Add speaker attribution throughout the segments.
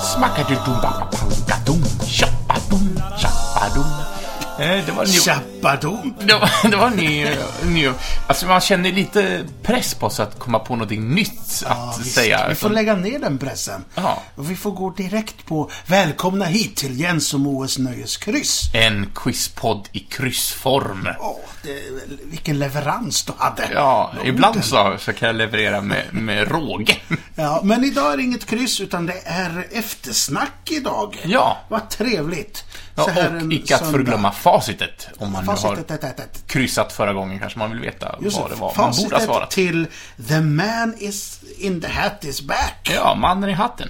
Speaker 1: smackadudum, babababadum, tjabbadum, tjabbadum. Eh, Det var en ny...
Speaker 2: Chappadom.
Speaker 1: Det var, det var en ny, ny... Alltså man känner lite press på sig att komma på någonting nytt att
Speaker 2: Ja, visst.
Speaker 1: säga.
Speaker 2: Vi får lägga ner den pressen.
Speaker 1: Ja.
Speaker 2: Och vi får gå direkt på Välkomna hit till Jens och Moes Nöjeskryss.
Speaker 1: En quizpodd i kryssform.
Speaker 2: Åh, det, vilken leverans du hade.
Speaker 1: Ja, ibland så, så kan jag leverera med, med råge.
Speaker 2: Ja, men idag är det inget kryss utan det är eftersnack idag.
Speaker 1: Ja.
Speaker 2: Vad trevligt.
Speaker 1: Ja,
Speaker 2: Så här en
Speaker 1: och icke att
Speaker 2: söndag.
Speaker 1: förglömma facitet. Om man
Speaker 2: Facit
Speaker 1: nu har
Speaker 2: ett, ett, ett, ett.
Speaker 1: kryssat förra gången kanske man vill veta
Speaker 2: Just
Speaker 1: vad det var man
Speaker 2: facitet
Speaker 1: borde ha svarat.
Speaker 2: till The man is in the hat is back.
Speaker 1: Ja, mannen i hatten.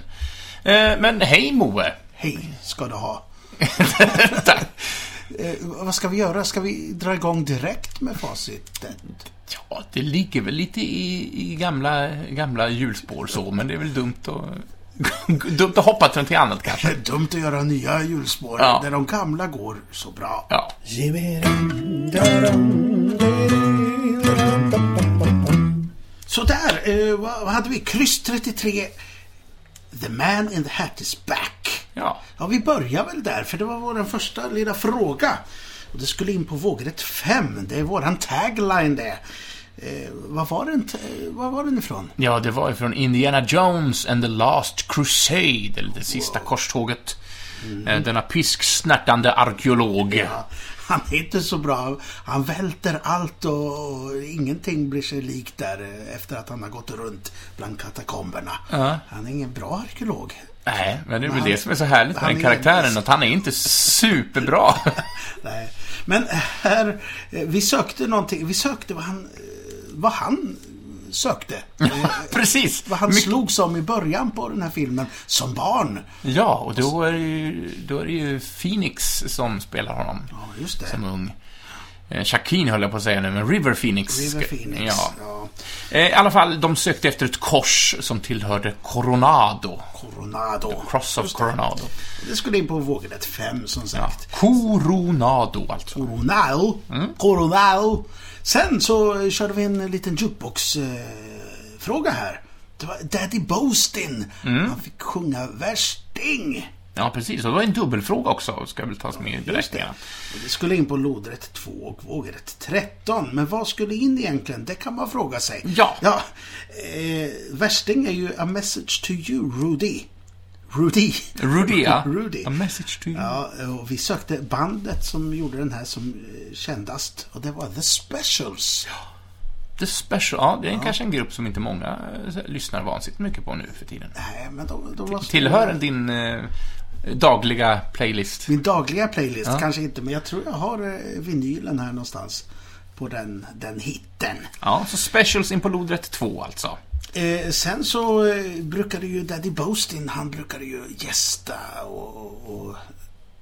Speaker 1: Eh, men hej Moe!
Speaker 2: Hej ska du ha.
Speaker 1: Tack.
Speaker 2: Eh, vad ska vi göra? Ska vi dra igång direkt med facitet?
Speaker 1: ja, det ligger väl lite i, i gamla, gamla hjulspår så, men det är väl dumt att, dumt att hoppa till någonting annat kanske.
Speaker 2: Det är dumt att göra nya hjulspår
Speaker 1: Ja.
Speaker 2: där de gamla går så bra.
Speaker 1: Ja.
Speaker 2: Sådär, eh, vad, vad hade vi? Kryss 33. The man in the hat is back.
Speaker 1: Ja.
Speaker 2: Ja, vi börjar väl där, för det var vår första lilla fråga. Och det skulle in på vågrätt 5. Det är våran tagline det. Eh, vad var den, t- eh, vad var den ifrån?
Speaker 1: ja, det var ju från Indiana Jones and the Last Crusade, eller det sista korståget. Mm. Denna pisksnärtande arkeolog.
Speaker 2: Ja, han är inte så bra. Han välter allt och, och ingenting blir sig likt där eh, efter att han har gått runt bland katakomberna. Han är ingen bra arkeolog.
Speaker 1: Nej, men det är väl
Speaker 2: han-
Speaker 1: det som är så härligt med
Speaker 2: han
Speaker 1: den
Speaker 2: är-
Speaker 1: karaktären, att han är inte superbra.
Speaker 2: Nej. Men här, eh, vi sökte någonting. Vi sökte vad han, eh, vad han sökte. Eh,
Speaker 1: Precis!
Speaker 2: vad han slogs om i början på den här filmen som barn.
Speaker 1: Ja, och då är, det ju, då är det ju Phoenix som spelar honom
Speaker 2: Ja, just det.
Speaker 1: som ung. Eh, Shaquin höll jag på att säga nu, men River Phoenix.
Speaker 2: River Phoenix.
Speaker 1: Ja.
Speaker 2: Ja.
Speaker 1: Eh, I alla fall, de sökte efter ett kors som tillhörde Coronado.
Speaker 2: Coronado.
Speaker 1: Cross of Coronado.
Speaker 2: Det skulle in på vågrätt 5 som
Speaker 1: Ja.
Speaker 2: sagt.
Speaker 1: Coronado, alltså.
Speaker 2: Coronado. Coronado. Sen så eh, körde vi en liten jukebox-fråga eh, fråga här. Det var Daddy Boastin. Han fick sjunga värsting.
Speaker 1: Ja, precis. Och det var en dubbelfråga också, ska väl tas med i
Speaker 2: Just det.
Speaker 1: beräkningarna.
Speaker 2: Och det skulle in på lodrätt 2 och vågrätt 13. Men vad skulle in egentligen? Det kan man fråga sig.
Speaker 1: Ja.
Speaker 2: ja. Eh, värsting är ju A Message to You, Rudy. Rudy.
Speaker 1: Rudy, ja.
Speaker 2: Rudy.
Speaker 1: A message to you.
Speaker 2: Ja, och vi sökte bandet som gjorde den här som eh, kändast och det var The Specials.
Speaker 1: The Special. Ja, det är kanske en grupp som inte många eh, lyssnar vansinnigt mycket på nu för tiden.
Speaker 2: Nej, men de, de var
Speaker 1: Tillhör den din eh, dagliga playlist?
Speaker 2: Min dagliga playlist kanske inte, men jag tror jag har eh, vinylen här någonstans på den, den hitten.
Speaker 1: Ja, så Specials in på lodrätt 2 alltså.
Speaker 2: Eh, sen så eh, brukade ju Daddy Boastin, han brukade ju gästa och, och, och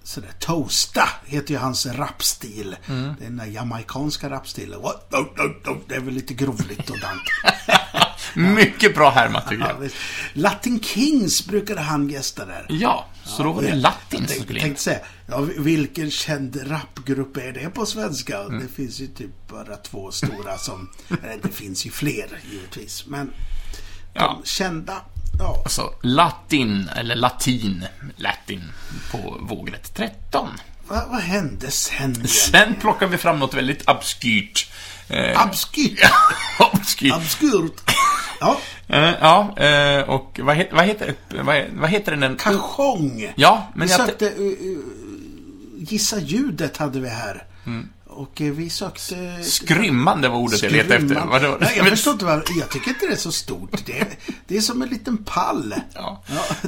Speaker 2: sådär. Toasta heter ju hans rapstil. Den där jamaicanska rapstilen. What? No, no, no. Det är väl lite grovligt och dant.
Speaker 1: Mycket bra härmat tycker
Speaker 2: Ja,
Speaker 1: jag.
Speaker 2: visst. Latin Kings brukade han gästa där.
Speaker 1: Ja, så då var det latin som
Speaker 2: Jag
Speaker 1: skulle
Speaker 2: tänkte,
Speaker 1: in.
Speaker 2: tänkte säga, ja, vilken känd rapgrupp är det på svenska?
Speaker 1: Mm.
Speaker 2: Det finns ju typ bara två stora som... eller det finns ju fler givetvis, men
Speaker 1: Ja.
Speaker 2: de kända... Ja,
Speaker 1: Så latin, eller latin, latin, på vågrätt 13.
Speaker 2: vad, vad hände sen? igen?
Speaker 1: Sen plockar vi fram något väldigt obskyrt. Eh,
Speaker 2: Abskyrt! Ah.
Speaker 1: obskyrt.
Speaker 2: Abskyrt! Ja,
Speaker 1: Eh, ja, eh, och vad, het, vad, heter, vad, he- vad heter den?
Speaker 2: kachong!
Speaker 1: Ja, men
Speaker 2: vi
Speaker 1: jag...
Speaker 2: sökte... eh, eh, gissa ljudet hade vi här.
Speaker 1: Mm.
Speaker 2: Och eh, vi sökte...
Speaker 1: Skrymmande var ordet jag letade efter.
Speaker 2: Skrymman.
Speaker 1: Vadå?
Speaker 2: Nej, jag förstår inte vad, Jag tycker inte det är så stort. Det är, det är som en liten pall.
Speaker 1: Ja.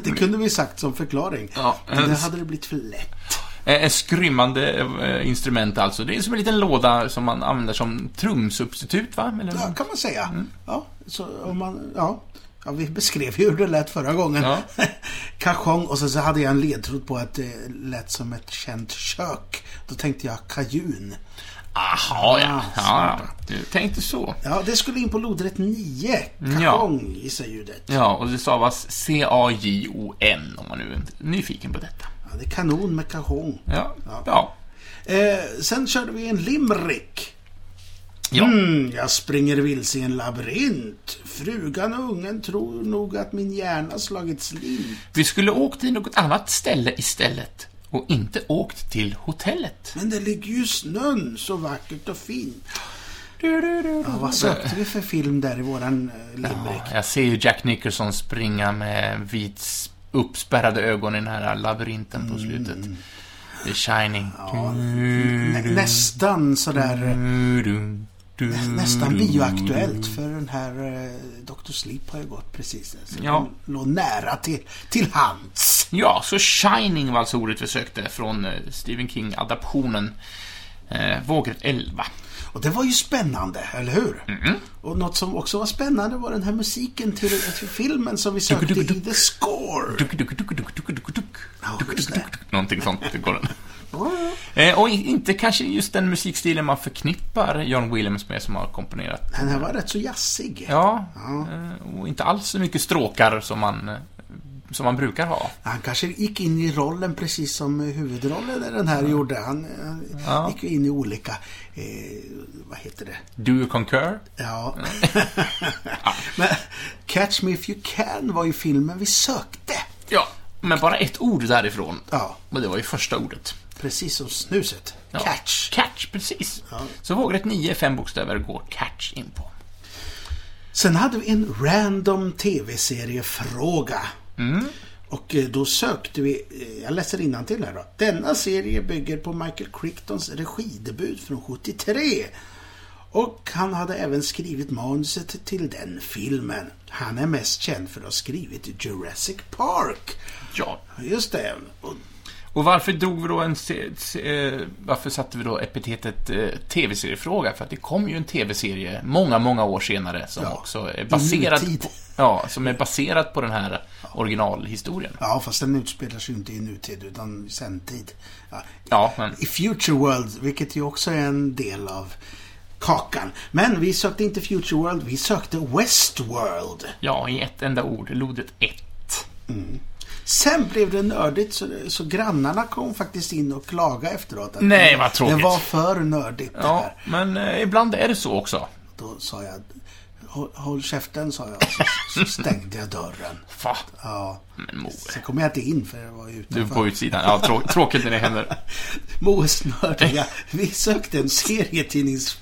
Speaker 2: det kunde vi sagt som förklaring.
Speaker 1: Ja.
Speaker 2: Men det hade det blivit för lätt.
Speaker 1: Eh, Ett skrymmande eh, instrument alltså. Det är som en liten låda som man använder som trumsubstitut, va? Eller?
Speaker 2: Ja, kan man säga.
Speaker 1: Mm.
Speaker 2: Ja, så om man, ja. Ja, vi beskrev ju hur det lät förra gången.
Speaker 1: Ja.
Speaker 2: Kachong och sen så hade jag en ledtråd på att det lät som ett känt kök. Då tänkte jag kajun.
Speaker 1: Aha, ja.
Speaker 2: Ah,
Speaker 1: ja. Du tänkte så.
Speaker 2: Ja, det skulle in på lodrätt 9.
Speaker 1: Mm, Ja.
Speaker 2: Kachong gissar ljudet.
Speaker 1: Ja, och det stavas C-A-J-O-N om man nu är nyfiken på detta.
Speaker 2: Ja, det är kanon med kachong.
Speaker 1: Ja.
Speaker 2: Ja.
Speaker 1: ja.
Speaker 2: Eh, sen körde vi en limerick.
Speaker 1: Ja.
Speaker 2: Mm, jag springer vilse i en labyrint. Frugan och ungen tror nog att min hjärna slagit slint.
Speaker 1: Vi skulle åkt till något annat ställe istället och inte åkt till hotellet.
Speaker 2: Men det ligger ju snön så vackert och fint.
Speaker 1: Du, du, du, du.
Speaker 2: Ja, vad sökte vi för film där i våran eh, limerick?
Speaker 1: Ja, jag ser ju Jack Nicholson springa med vit s- uppspärrade ögon i den här labyrinten på slutet. The Shining.
Speaker 2: Mm. Nä, nästan sådär... eh,
Speaker 1: Du, du, du,
Speaker 2: Nästan
Speaker 1: du.
Speaker 2: bioaktuellt för den här eh, Dr. Sleep har ju gått precis. eh, Så
Speaker 1: Ja.
Speaker 2: Den låg nära till, till hands.
Speaker 1: Ja, så Shining var alltså ordet vi sökte från eh, Stephen King-adaptionen. Eh, Vågrätt 11.
Speaker 2: Och det var ju spännande, eller hur?
Speaker 1: Mm.
Speaker 2: Och något som också var spännande var den här musiken till, till filmen som vi sökte
Speaker 1: Duk, duk,
Speaker 2: i The Score.
Speaker 1: Duk, duk, duk, duk, duk, duk, duk.
Speaker 2: Ja,
Speaker 1: Duk,
Speaker 2: just
Speaker 1: duk,
Speaker 2: det.
Speaker 1: duk. Någonting sånt. Det går den.
Speaker 2: Ja, ja.
Speaker 1: Eh, och i- inte kanske just den musikstilen man förknippar John Williams med som har komponerat.
Speaker 2: Den här var rätt så jazzig.
Speaker 1: Ja, eh, och inte alls så mycket stråkar som man, eh, som man brukar ha.
Speaker 2: Han kanske gick in i rollen precis som eh, huvudrollen i den här gjorde. Han eh,
Speaker 1: Ja.
Speaker 2: gick ju in i olika, eh, vad heter det?
Speaker 1: Do you concur?
Speaker 2: Ja. Men Catch Me If You Can var ju filmen vi sökte.
Speaker 1: Ja, men bara ett ord därifrån.
Speaker 2: Ja,
Speaker 1: Och det var ju första ordet.
Speaker 2: precis som snuset.
Speaker 1: Ja.
Speaker 2: Catch.
Speaker 1: Catch, precis. Så vågrätt 9, fem bokstäver, går catch in på.
Speaker 2: Sen hade vi en random tv-seriefråga. Och eh, då sökte vi, eh, jag läser till här då. Denna serie bygger på Michael Crichtons regidebut från 73. Och han hade även skrivit manuset till den filmen. Han är mest känd för att ha skrivit Jurassic Park.
Speaker 1: Ja.
Speaker 2: Just det. Och
Speaker 1: Och varför drog vi då en... se- se- eh, Varför satte vi då epitetet eh, tv-seriefråga? För att det kom ju en tv-serie många, många år senare som
Speaker 2: Ja,
Speaker 1: också är
Speaker 2: i
Speaker 1: baserad
Speaker 2: nutid.
Speaker 1: på, ja, som är baserad på den här originalhistorien.
Speaker 2: Ja, fast den utspelar sig ju inte i nutid utan i sändtid. Ja.
Speaker 1: Ja, men...
Speaker 2: I Future World, vilket ju också är en del av kakan. Men vi sökte inte Future World, vi sökte Westworld.
Speaker 1: Ja, i ett enda ord. Lodet 1.
Speaker 2: Sen blev det nördigt så, så grannarna kom faktiskt in och klagade efteråt. Att
Speaker 1: Nej, vad tråkigt.
Speaker 2: Det var för nördigt det
Speaker 1: Ja,
Speaker 2: här.
Speaker 1: men eh, ibland är det så också.
Speaker 2: Då sa jag, håll, håll käften sa jag. Så, så stängde jag dörren.
Speaker 1: Fan,
Speaker 2: Ja.
Speaker 1: men Moe.
Speaker 2: Sen kom jag inte in för jag var ju
Speaker 1: Du är
Speaker 2: utanför.
Speaker 1: på utsidan. Ja, trå- tråkigt när det händer.
Speaker 2: Moes nördiga. Vi sökte en serietidningsgrej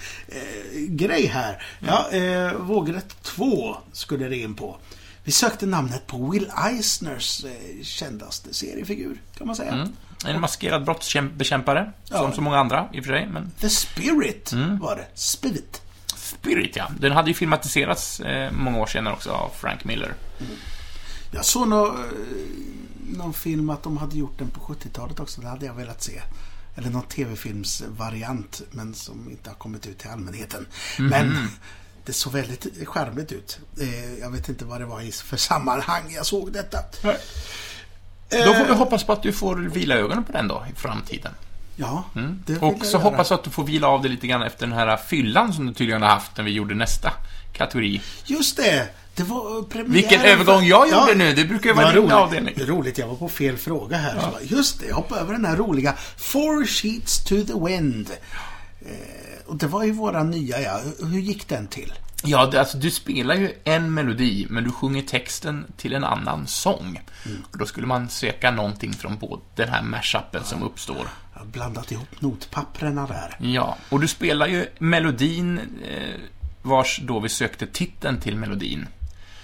Speaker 2: eh, grej här. Ja, eh, vågrätt 2 skulle det in på. Vi sökte namnet på Will Eisners eh, kändaste seriefigur, kan man säga.
Speaker 1: Mm. En maskerad brottsbekämpare, som så många andra i och för sig. Men
Speaker 2: The Spirit var det. Spirit.
Speaker 1: Spirit, ja. Den hade ju filmatiserats eh, många år senare också av Frank Miller.
Speaker 2: Jag såg nå, eh, någon film att de hade gjort den på 70-talet också. Det hade jag velat se. Eller någon tv-filmsvariant, men som inte har kommit ut till allmänheten.
Speaker 1: Mhm.
Speaker 2: Men det såg väldigt charmigt ut. Eh, Jag vet inte vad det var i för sammanhang jag såg detta. Eh,
Speaker 1: Då får vi hoppas på att du får vila ögonen på den då, i framtiden.
Speaker 2: Ja, det vill
Speaker 1: Mm. Och
Speaker 2: jag
Speaker 1: så
Speaker 2: göra.
Speaker 1: hoppas jag att du får vila av dig lite grann efter den här fyllan som du tydligen har haft när vi gjorde nästa kategori.
Speaker 2: Just det! Det var eh, premiären
Speaker 1: Vilken
Speaker 2: för-
Speaker 1: övergång jag gjorde
Speaker 2: Ja,
Speaker 1: nu! Det brukar ju vara
Speaker 2: Vad
Speaker 1: din
Speaker 2: roligt.
Speaker 1: avdelning.
Speaker 2: roligt, jag var på fel fråga här. Så bara, just det, jag hoppade över den här roliga Four Sheets to the Wind. Eh, och det var ju våra nya, ja. Hur- Hur gick den till?
Speaker 1: Ja, det, alltså du spelar ju en melodi, men du sjunger texten till en annan sång.
Speaker 2: Mm.
Speaker 1: Och då skulle man söka någonting från både den här mashupen som uppstår.
Speaker 2: Jag har blandat ihop notpapprena där.
Speaker 1: Ja, och du spelar ju melodin eh, vars då vi sökte titeln till melodin.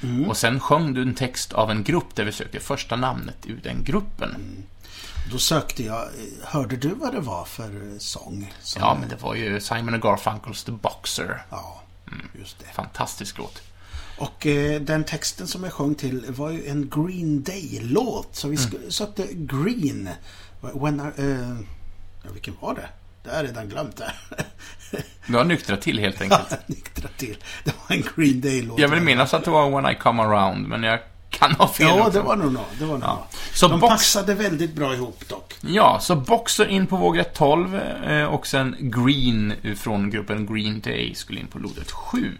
Speaker 2: Mm.
Speaker 1: Och sen sjöng du en text av en grupp där vi sökte första namnet ur den gruppen.
Speaker 2: Mm. Då sökte jag, eh, hörde du vad det var för eh, sång? Som,
Speaker 1: Ja, men det var ju Simon och Garfunkels The Boxer.
Speaker 2: ja, just det.
Speaker 1: Fantastisk låt.
Speaker 2: Och eh, den texten som jag sjöng till var ju en Green Day-låt. Så vi
Speaker 1: Mm.
Speaker 2: sk- sökte Green. When I, eh, ja, vilken var det? Det har jag redan glömt det.
Speaker 1: Du har nyktrat till helt enkelt.
Speaker 2: Ja, Nyktra till. Det var en Green Day-låt.
Speaker 1: Jag vill minnas att det var When I Come Around, men jag kan ha fel
Speaker 2: Ja,
Speaker 1: också.
Speaker 2: det var nog nå. Det var nog nå.
Speaker 1: Så
Speaker 2: De
Speaker 1: box-
Speaker 2: passade väldigt bra ihop dock.
Speaker 1: Ja, så Boxer in på vågrätt 12 eh, och sen Green från gruppen Green Day skulle in på lodet 7.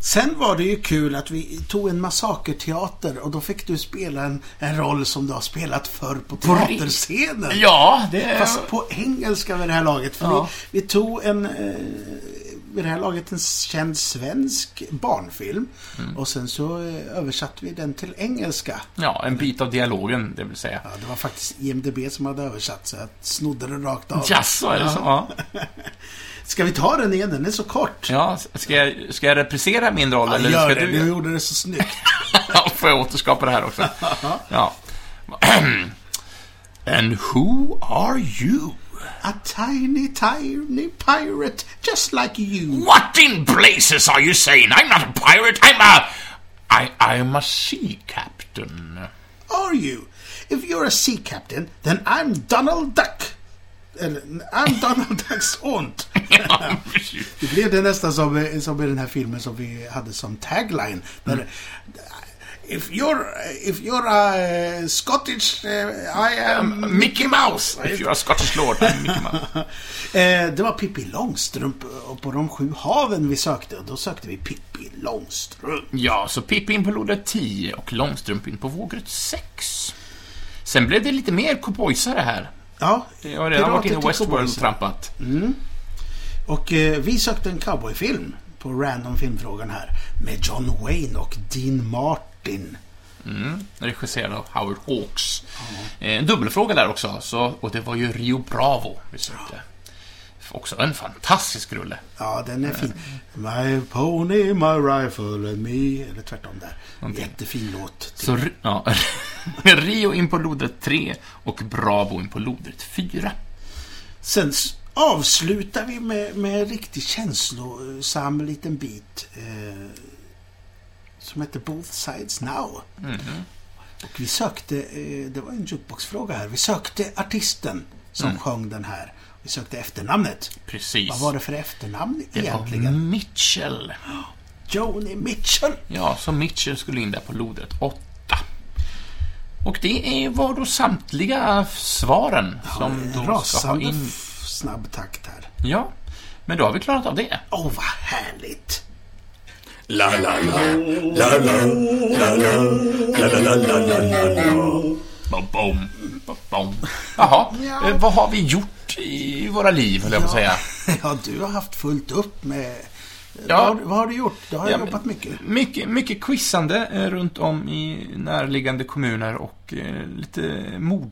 Speaker 2: Sen var det ju kul att vi tog en massakerteater och då fick du spela en, en roll som du har spelat förr på
Speaker 1: ri-
Speaker 2: teaterscenen.
Speaker 1: Ja, det är...
Speaker 2: Fast på engelska vid det här laget. För
Speaker 1: Ja.
Speaker 2: vi, vi tog en eh, vid det här laget en känd svensk barnfilm.
Speaker 1: Mm.
Speaker 2: Och sen så eh, översatte vi den till engelska.
Speaker 1: Ja, en bit av dialogen, det vill säga.
Speaker 2: Ja, det var faktiskt IMDB som hade översatt så jag snodde den rakt av.
Speaker 1: Jaså, är det så? Ja.
Speaker 2: Ska vi ta den igen? Den är så kort.
Speaker 1: ja ska, jag, ska jag reprisera min roll,
Speaker 2: Ja,
Speaker 1: eller
Speaker 2: gör
Speaker 1: ska
Speaker 2: det.
Speaker 1: du...
Speaker 2: Du gjorde det så snyggt.
Speaker 1: Ja, får jag återskapa det här också? Ja. And who are you?
Speaker 2: A tiny, tiny pirate, just like you.
Speaker 1: What in blazes are you saying? I'm not a pirate, I'm a... I, I'm a sea captain.
Speaker 2: Are you? If you're a sea captain, then I'm Donald Duck. Eller, I'm Donald Ducks aunt.
Speaker 1: Ja, precis.
Speaker 2: Det blev det nästan som, eh, som i den här filmen som vi hade som tagline. Där,
Speaker 1: Mm.
Speaker 2: If you're, eh, if you're a eh, Scottish, eh, I am...
Speaker 1: Mickey Mouse! If you're a Scottish lord, I'm Mickey Mouse.
Speaker 2: Eh, det var Pippi Långstrump och på de sju haven vi sökte. Och då sökte vi Pippi Långstrump.
Speaker 1: Ja, så Pippin på lodrätt 10 och Långstrump på vågrätt 6. Sen blev det lite mer cowboysare här.
Speaker 2: Ja,
Speaker 1: Jag har redan varit inne
Speaker 2: pirater
Speaker 1: i
Speaker 2: till
Speaker 1: Westworld och
Speaker 2: cowboys.
Speaker 1: trampat.
Speaker 2: Och eh, vi sökte en cowboyfilm på random filmfrågan här. Med John Wayne och Dean Martin.
Speaker 1: regisserad av Howard Hawks. Eh, En dubbelfråga där också, så, och det var ju Rio Bravo vi sökte. Också en fantastisk rulle.
Speaker 2: Ja, den är fin. My pony, my rifle and me. Eller tvärtom där. Jättefin låt.
Speaker 1: Så ri- ja, Rio in på lodrätt 3 och Bravo in på lodrätt 4.
Speaker 2: Sen s- avslutar vi med, med en riktigt känslosam liten bit. Eh, som heter Both Sides Now.
Speaker 1: Mhm.
Speaker 2: Och vi sökte, eh, det var en jukeboxfråga här. Vi sökte artisten som
Speaker 1: Mm.
Speaker 2: sjöng den här. Vi sökte efternamnet.
Speaker 1: Precis.
Speaker 2: Vad var det för efternamn
Speaker 1: Det var
Speaker 2: egentligen?
Speaker 1: Mitchell.
Speaker 2: Joni Mitchell.
Speaker 1: Ja, så Mitchell skulle in där på lodrätt 8. Och det är- var då samtliga svaren som Mm, då ska
Speaker 2: Eh,
Speaker 1: ha
Speaker 2: Rasande
Speaker 1: in.
Speaker 2: f- snabb takt här.
Speaker 1: Ja, men då har vi klarat av det.
Speaker 2: Åh, vad härligt!
Speaker 3: La la la la la la la la la la la la la la
Speaker 1: Bom, bom, bom, bom. Jaha,
Speaker 2: Ja.
Speaker 1: eh, vad har vi gjort i våra liv, höll jag på att säga.
Speaker 2: ja, du har haft fullt upp med...
Speaker 1: Ja.
Speaker 2: Vad, har, vad har du gjort? Du har
Speaker 1: Ja, men-
Speaker 2: jobbat mycket.
Speaker 1: Mycket, mycket quizande eh, runt om i närliggande kommuner och eh, lite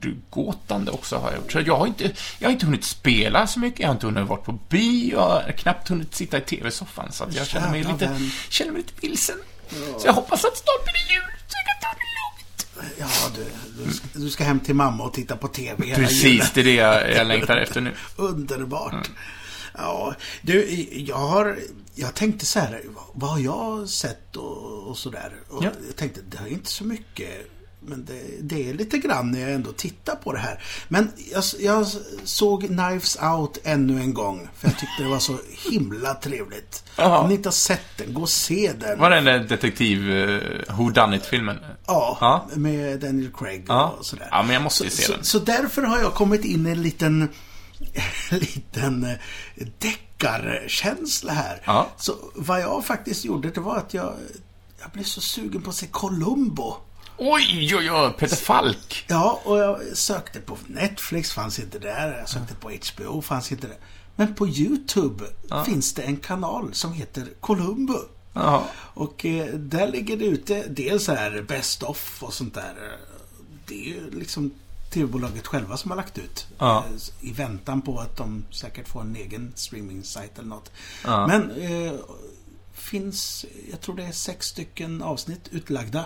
Speaker 1: mordgåtande också har jag gjort. Så jag har, inte, jag har inte hunnit spela så mycket, jag har inte hunnit vara på bio, jag har knappt hunnit sitta i TV-soffan, så att jag känner mig,
Speaker 2: Jävlar,
Speaker 1: lite,
Speaker 2: vän.
Speaker 1: känner mig lite vilsen. Så jag hoppas att snart blir det jul, så jag kan ta det lugnt.
Speaker 2: Ja, du, du, ska, du ska hem till mamma och titta på TV hela julen.
Speaker 1: Precis, det är det jag, jag längtar efter nu.
Speaker 2: Underbart. Ja, du, jag har... Jag tänkte så här, vad- vad har jag sett och, och sådär? Och
Speaker 1: Ja.
Speaker 2: Jag tänkte, det är inte så mycket. Men det, det är lite grann när jag ändå tittar på det här. Men jag, jag såg Knives Out ännu en gång. För jag tyckte det var så himla trevligt.
Speaker 1: Jaha.
Speaker 2: Om ni inte har sett den, gå och se den.
Speaker 1: Var det den där detektiv uh, Who Done It-filmen?
Speaker 2: Ja,
Speaker 1: Ja.
Speaker 2: med Daniel Craig och
Speaker 1: Ja.
Speaker 2: sådär.
Speaker 1: Ja, men jag måste
Speaker 2: så,
Speaker 1: ju se
Speaker 2: så,
Speaker 1: den.
Speaker 2: Så därför har jag kommit in i en liten, liten eh, deckarkänsla här.
Speaker 1: Ja.
Speaker 2: Så vad jag faktiskt gjorde, det var att jag, jag blev så sugen på att se Columbo.
Speaker 1: Oj, oj, oj, Peter Falk.
Speaker 2: Ja, och jag sökte på Netflix, fanns inte där. Jag sökte på HBO, fanns inte där. Men på YouTube finns det en kanal som heter Columbo.
Speaker 1: Ja.
Speaker 2: Och eh, där ligger det ute dels här Best of och sånt där. eh, Det är ju liksom TV-bolaget själva som har lagt ut.
Speaker 1: Ja.
Speaker 2: eh, s- I väntan på att de säkert får en egen streaming-sajt eller något. Men eh, finns, jag tror det är sex stycken avsnitt utlagda.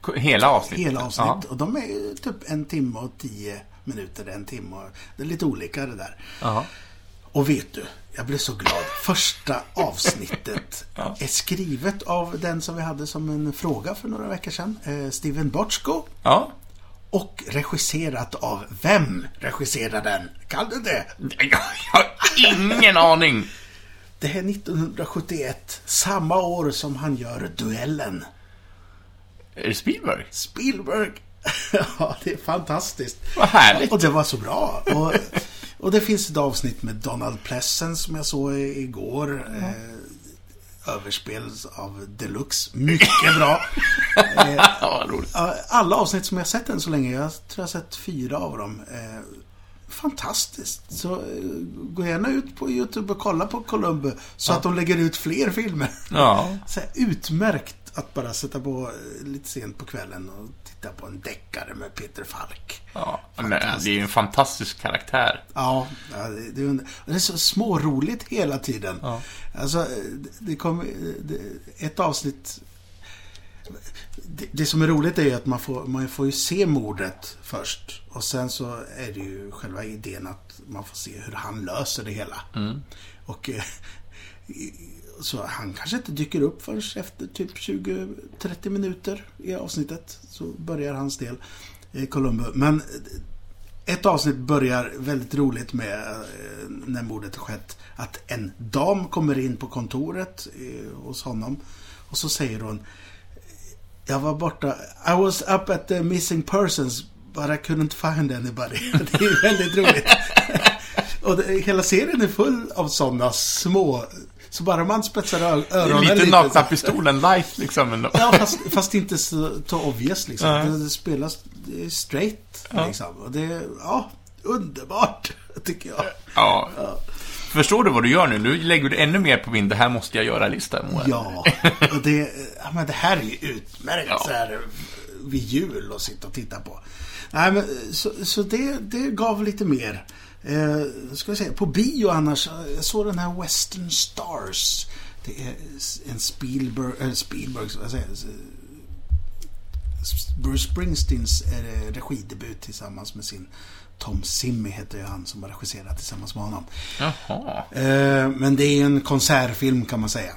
Speaker 1: K- Hela avsnittet.
Speaker 2: Hela avsnitt.
Speaker 1: Ja.
Speaker 2: Och de är ju typ en timme och tio minuter, en timme. Och, det är lite olika det där.
Speaker 1: Ja.
Speaker 2: Och vet du, jag blev så glad. Första avsnittet är skrivet av den som vi hade som en fråga för några veckor sedan, eh, Steven Bochco.
Speaker 1: ja.
Speaker 2: Och regisserat av vem regisserar den? Kan du det?
Speaker 1: Jag har ingen aning.
Speaker 2: Det här är 1971, samma år som han gör Duellen.
Speaker 1: Är det Spielberg?
Speaker 2: Spielberg! ja, det är fantastiskt.
Speaker 1: Vad härligt.
Speaker 2: Och det var så bra. Och, och det finns ett avsnitt med Donald Plessen som jag såg i- igår.
Speaker 1: Mm.
Speaker 2: Eh, överspel av deluxe. Mycket bra.
Speaker 1: Ja, vad roligt.
Speaker 2: Alla avsnitt som jag sett än så länge, jag tror jag har sett fyra av dem. Eh, Fantastiskt. Så eh, gå gärna ut på YouTube och kolla på Columbo så att de lägger ut fler filmer.
Speaker 1: Ja.
Speaker 2: Så här, utmärkt att bara sätta på eh, lite sent på kvällen och titta på en deckare med Peter Falk.
Speaker 1: ja. Men det är ju en fantastisk karaktär.
Speaker 2: Ja, ja, det, det, är under- och det är så småroligt hela tiden.
Speaker 1: Ja.
Speaker 2: Alltså, eh, det- det kom eh, det- ett avsnitt... Det, det som är roligt är ju att man får, man får ju se mordet först. Och sen så är det ju själva idén att man får se hur han löser det hela. Och eh, i- så han kanske inte dyker upp förrän efter typ 20-30 minuter i avsnittet. Så börjar hans del i Columbo. Men ett avsnitt börjar väldigt roligt med eh, när mordet har skett. Att en dam kommer in på kontoret eh, hos honom. Och så säger hon Jag var borta. I was up at the missing persons but I couldn't find anybody. Det är väldigt roligt. och det, hela serien är full av sådana små... Så bara man spetsar ö- öronen
Speaker 1: Lite
Speaker 2: lite så-
Speaker 1: nakna pistolen life liksom. ändå.
Speaker 2: Ja, fast, fast inte så to obvious liksom.
Speaker 1: Nej.
Speaker 2: Det, det spelas det är straight liksom. Och det är, ja, underbart tycker jag.
Speaker 1: Ja. Förstår du vad du gör nu? Nu lägger du ännu mer på min det här måste jag göra-lista. Moa.
Speaker 2: Ja, och det, ja, men det här är ju utmärkt
Speaker 1: Ja.
Speaker 2: så här vid jul att sitta och titta på. Nej, men, så så det, det gav lite mer. Eh, ska vi säga, på bio annars, eh, jag såg den här Western Stars. Det är en Spielberg, äh, Spielberg, vad säger jag? Bruce Springsteens eh, regidebut tillsammans med sin Tom Simmy heter ju han som har regisserat tillsammans med honom.
Speaker 1: Jaha.
Speaker 2: Eh, Men det är ju en konsertfilm kan man säga.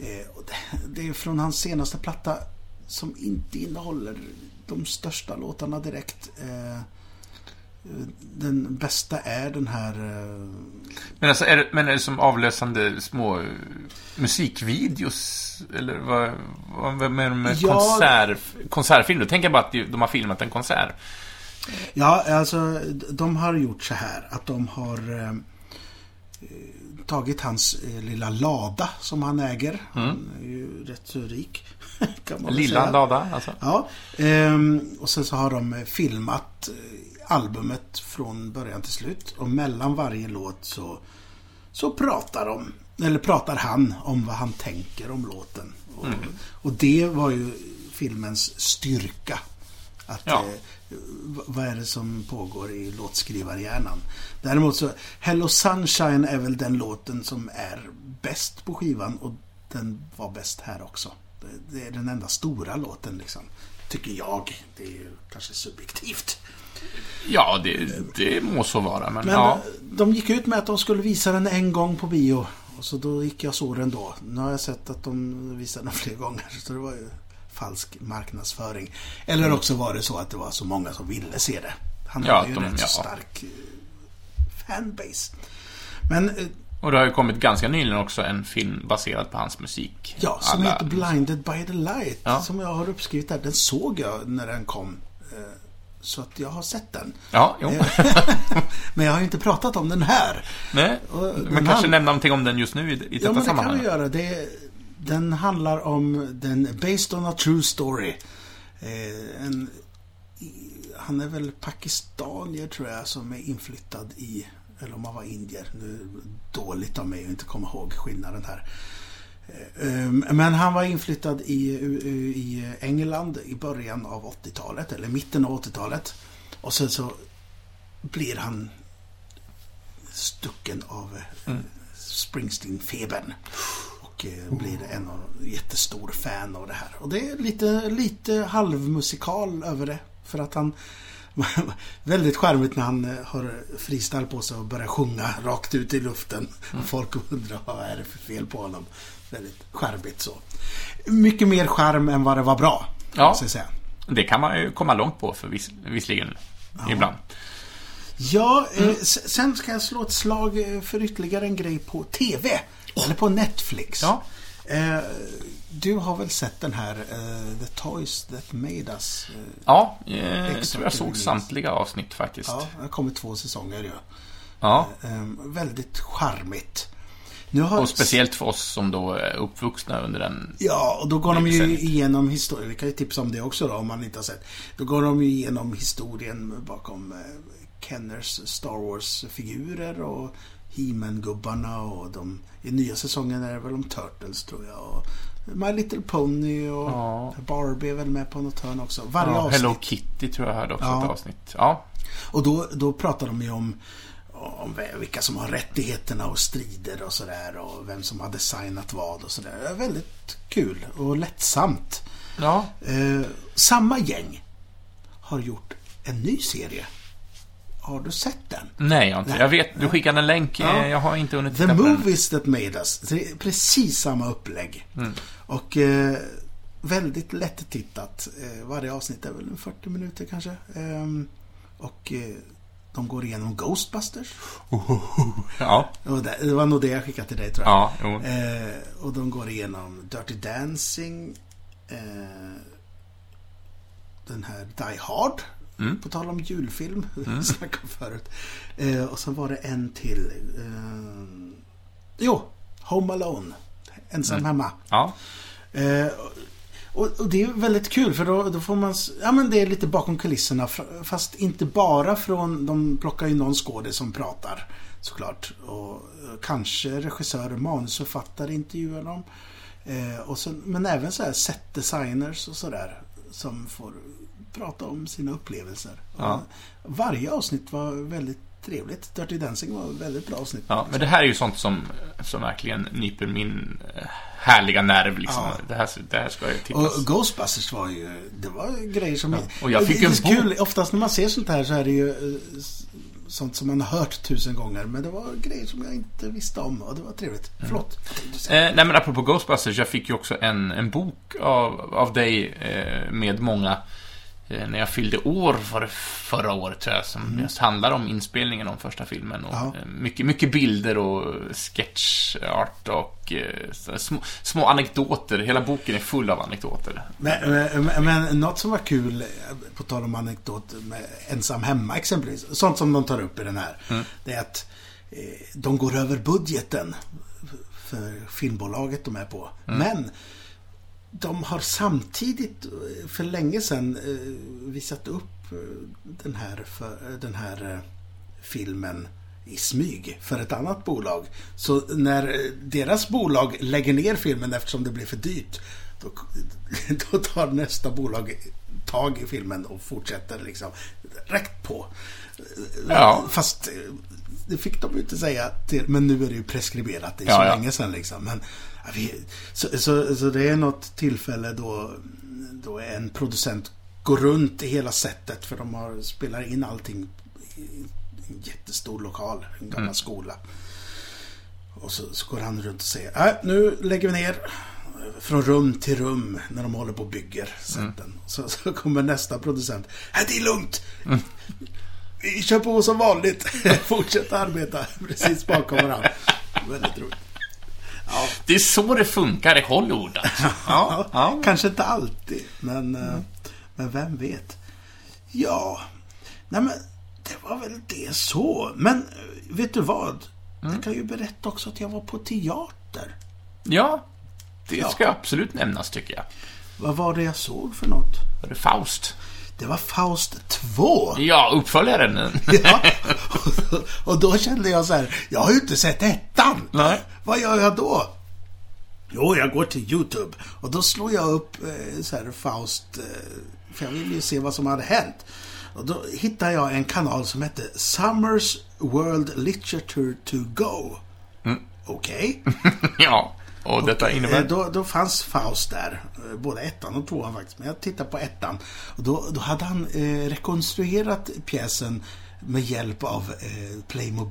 Speaker 2: Eh, och det- Det är från hans senaste platta som inte innehåller de största låtarna direkt. Eh, eh, Den bästa är den här... eh,
Speaker 1: Men, alltså, är det, men är det som avlösande små eh, musikvideos? Eller vad, vad, vad menar du med
Speaker 2: Ja.
Speaker 1: konsert, konsertfilm? Då tänker jag bara att de har filmat en konsert.
Speaker 2: Ja, alltså de har gjort så här att de har eh, eh, tagit hans eh, lilla lada som han äger. Han är ju rätt så rik. Kan man väl
Speaker 1: Mm. Lilla
Speaker 2: säga.
Speaker 1: lada, alltså.
Speaker 2: Ja, ehm, och sen så har de eh, filmat eh, albumet från början till slut och mellan varje låt så, så pratar de, eller pratar han om vad han tänker om låten. Och, och det var ju filmens styrka. Att,
Speaker 1: Ja.
Speaker 2: eh, v- vad är det som pågår i låtskrivarhjärnan? Däremot så, Hello Sunshine är väl den låten som är bäst på skivan och den var bäst här också. Det, det är den enda stora låten liksom. Tycker jag. Det är ju kanske subjektivt.
Speaker 1: Ja, det, det må så vara, men,
Speaker 2: Men
Speaker 1: ja.
Speaker 2: eh, de gick ut med att de skulle visa den en gång på bio. Och så då gick jag och såg den då. Nu har jag sett att de visar den fler gånger. Så det var ju falsk marknadsföring. Eller också var det så att det var så många som ville se det. Han
Speaker 1: Ja,
Speaker 2: hade ju
Speaker 1: att de-
Speaker 2: rätt så
Speaker 1: ja.
Speaker 2: stark eh, fanbase. Men eh,
Speaker 1: Och det har ju kommit ganska nyligen också en film baserad på hans musik.
Speaker 2: ja, som
Speaker 1: Alla-
Speaker 2: heter Blinded by the Light.
Speaker 1: Ja.
Speaker 2: Som jag har uppskrivit där. Den såg jag när den kom. Eh, Så att jag har sett den. Eh,
Speaker 1: Ja, jo.
Speaker 2: Men jag har ju inte pratat om den här.
Speaker 1: Nej.
Speaker 2: Och den
Speaker 1: Men kanske
Speaker 2: han-
Speaker 1: nämna någonting om den just nu i, i detta
Speaker 2: Ja, men det kan
Speaker 1: sammanhang.
Speaker 2: vi göra. Det, den handlar om den Based on a true story. Eh, en, i, han är väl pakistanier tror jag som är inflyttad i, eller om han var indier. Nu är det dåligt av mig att inte komma ihåg skillnaden här. Eh, Men han var inflyttad i, eh, i England i början av 80-talet, eller mitten av 80-talet. Och sen så blir han stucken av eh, Springsteen-febern. Och eh, blir en av, jättestor fan av det här. Och det är lite, lite halvmusikal över det. För att han... Väldigt charmigt när han eh, har freestyle på sig och börjar sjunga rakt ut i luften. Och folk undrar vad är det för fel på honom. Väldigt charmigt så. Mycket mer charm än vad det var bra.
Speaker 1: Ja.
Speaker 2: måste jag säga.
Speaker 1: Det kan man ju komma långt på, för vis, visserligen. Ibland.
Speaker 2: Ja, eh, s- sen ska jag slå ett slag eh, för ytterligare en grej på TV. Eller på Netflix.
Speaker 1: Oh. Ja.
Speaker 2: Eh, du har väl sett den här eh, The Toys That Made Us? Eh,
Speaker 1: Ja, eh, jag
Speaker 2: Exakt,
Speaker 1: tror jag såg
Speaker 2: precis.
Speaker 1: samtliga avsnitt faktiskt.
Speaker 2: ja,
Speaker 1: Ja.
Speaker 2: det har kommit två säsonger ju.
Speaker 1: ja.
Speaker 2: Eh, väldigt charmigt. Nu har
Speaker 1: Och speciellt för oss som då är uppvuxna under den...
Speaker 2: Ja, och då går de ju
Speaker 1: Decenniet.
Speaker 2: igenom historien. Vi kan ju tipsa om det också då, om man inte har sett. Då går de ju igenom historien bakom eh, Kenners Star Wars-figurer och He-Man-gubbarna och de... I nya säsongen är det väl om Turtles tror jag. Och My Little Pony och
Speaker 1: Ja.
Speaker 2: Barbie är väl med på något hörn också. Varje
Speaker 1: Ja,
Speaker 2: avsnitt.
Speaker 1: Hello Kitty tror jag hörde också
Speaker 2: Ja.
Speaker 1: ett avsnitt. Ja.
Speaker 2: Och då, då pratar de ju om, om vilka som har rättigheterna och strider och sådär och vem som har designat vad och sådär. Det är Väldigt kul och lättsamt.
Speaker 1: Ja.
Speaker 2: Eh, samma gäng har gjort en ny serie. Har du sett den?
Speaker 1: Nej, jag har inte. Jag vet, du skickade en länk.
Speaker 2: Ja.
Speaker 1: Eh, Jag har inte hunnit
Speaker 2: The
Speaker 1: titta på den.
Speaker 2: Movies That Made Us. Det är precis samma upplägg.
Speaker 1: Mm.
Speaker 2: Och eh, väldigt lättittat. Eh, varje avsnitt är väl en 40 minuter kanske. Ehm, och eh, de går igenom Ghostbusters.
Speaker 1: Ja,
Speaker 2: Det var, det, det var nog det jag skickade till dig tror jag.
Speaker 1: ja, jo.
Speaker 2: Eh, och de går igenom Dirty Dancing. Eh, den här Die Hard. På tal om julfilm. Mm. snackade om förut. Eh, och sen var det en till. Eh, jo, Home Alone. Ensam hemma.
Speaker 1: Ja.
Speaker 2: Eh, och, och det är väldigt kul för då, då får man... s- Ja men det är lite bakom kulisserna. fr- Fast inte bara från... De plockar ju någon skådis som pratar såklart. Och eh, kanske regissörer, manusförfattare intervjuar dem. Eh, och sen, men även så här setdesigners och sådär. Som får prata om sina upplevelser.
Speaker 1: Ja.
Speaker 2: Och eh, varje avsnitt var väldigt trevligt. Dirty Dancing var ett väldigt bra avsnitt.
Speaker 1: ja, men det här är ju sånt som, som verkligen nyper min eh, härliga nerv liksom.
Speaker 2: Ja.
Speaker 1: Det, här, det här ska ju tittas.
Speaker 2: Och Ghostbusters var ju, det var grejer som...
Speaker 1: och jag fick
Speaker 2: det är
Speaker 1: en
Speaker 2: så
Speaker 1: bok.
Speaker 2: kul. Oftast när man ser sånt här så är det ju eh, s- sånt som man har hört tusen gånger. Men det var grejer som jag inte visste om och det var trevligt. Förlåt. Jag tänkte säga-
Speaker 1: Mm. Eh, nej men apropå Ghostbusters, jag fick ju också en, en bok av, av dig eh, med många eh, när jag fyllde år var det förra året tror jag, som just handlar om inspelningen om första filmen. Och,
Speaker 2: Mm. Ja.
Speaker 1: eh, mycket, mycket bilder och sketchart och eh, så- små, små anekdoter. Hela boken är full av anekdoter.
Speaker 2: Men, men, men- men något som var kul, eh, på tal om anekdot, med ensam hemma exempelvis. Sånt som de tar upp i den här.
Speaker 1: Mm.
Speaker 2: Det är att eh, de går över budgeten för filmbolaget de är på. Men de har samtidigt eh, för länge sedan eh, visat upp eh, den här, för, eh, den här eh, filmen i smyg för ett annat bolag. Så när eh, deras bolag lägger ner filmen eftersom det blir för dyrt då, då tar nästa bolag tag i filmen och fortsätter liksom rätt på.
Speaker 1: Ja.
Speaker 2: Fast eh, det fick de ju inte säga till, men nu är det ju preskriberat. Det är
Speaker 1: Ja,
Speaker 2: så
Speaker 1: ja.
Speaker 2: länge sedan liksom. Men, ja, vi, så, så, så det är något tillfälle då, då en producent går runt i hela setet för de har, spelar in allting i en jättestor lokal, en gammal
Speaker 1: Mm.
Speaker 2: skola. Och så, så går han runt och säger äh, nu lägger vi ner från rum till rum när de håller på och
Speaker 1: Mm.
Speaker 2: bygger seten. Så, så kommer nästa producent. Äh, det är lugnt! Vi kör på som vanligt. Fortsätt arbeta precis bakom varandra. Väldigt roligt.
Speaker 1: Det är så det funkar i Hollywood alltså.
Speaker 2: Ja, Kanske inte alltid, men, eh, men vem vet. Ja, nej men det var väl det så. Men eh, vet du vad? Jag kan ju berätta också att jag var på teater.
Speaker 1: Ja, det ska absolut nämnas tycker jag.
Speaker 2: Vad var det jag såg för något?
Speaker 1: Var det Faust?
Speaker 2: Det var Faust 2.
Speaker 1: Ja, uppföljaren.
Speaker 2: Ja, och- och då kände jag så här, jag har ju inte sett ettan.
Speaker 1: Nej.
Speaker 2: Vad gör jag då? Jo, jag går till YouTube och då slår jag upp eh, så här Faust, eh, för jag ville ju se vad som hade hänt. Och då hittade jag en kanal som hette Summers World Literature to Go. Okej.
Speaker 1: ja, och detta
Speaker 2: Eh,
Speaker 1: innebär...
Speaker 2: Då, då fanns Faust där, eh, både ettan och tvåan faktiskt. Men jag tittade på ettan. Och då, då hade han eh, rekonstruerat pjäsen med hjälp av eh,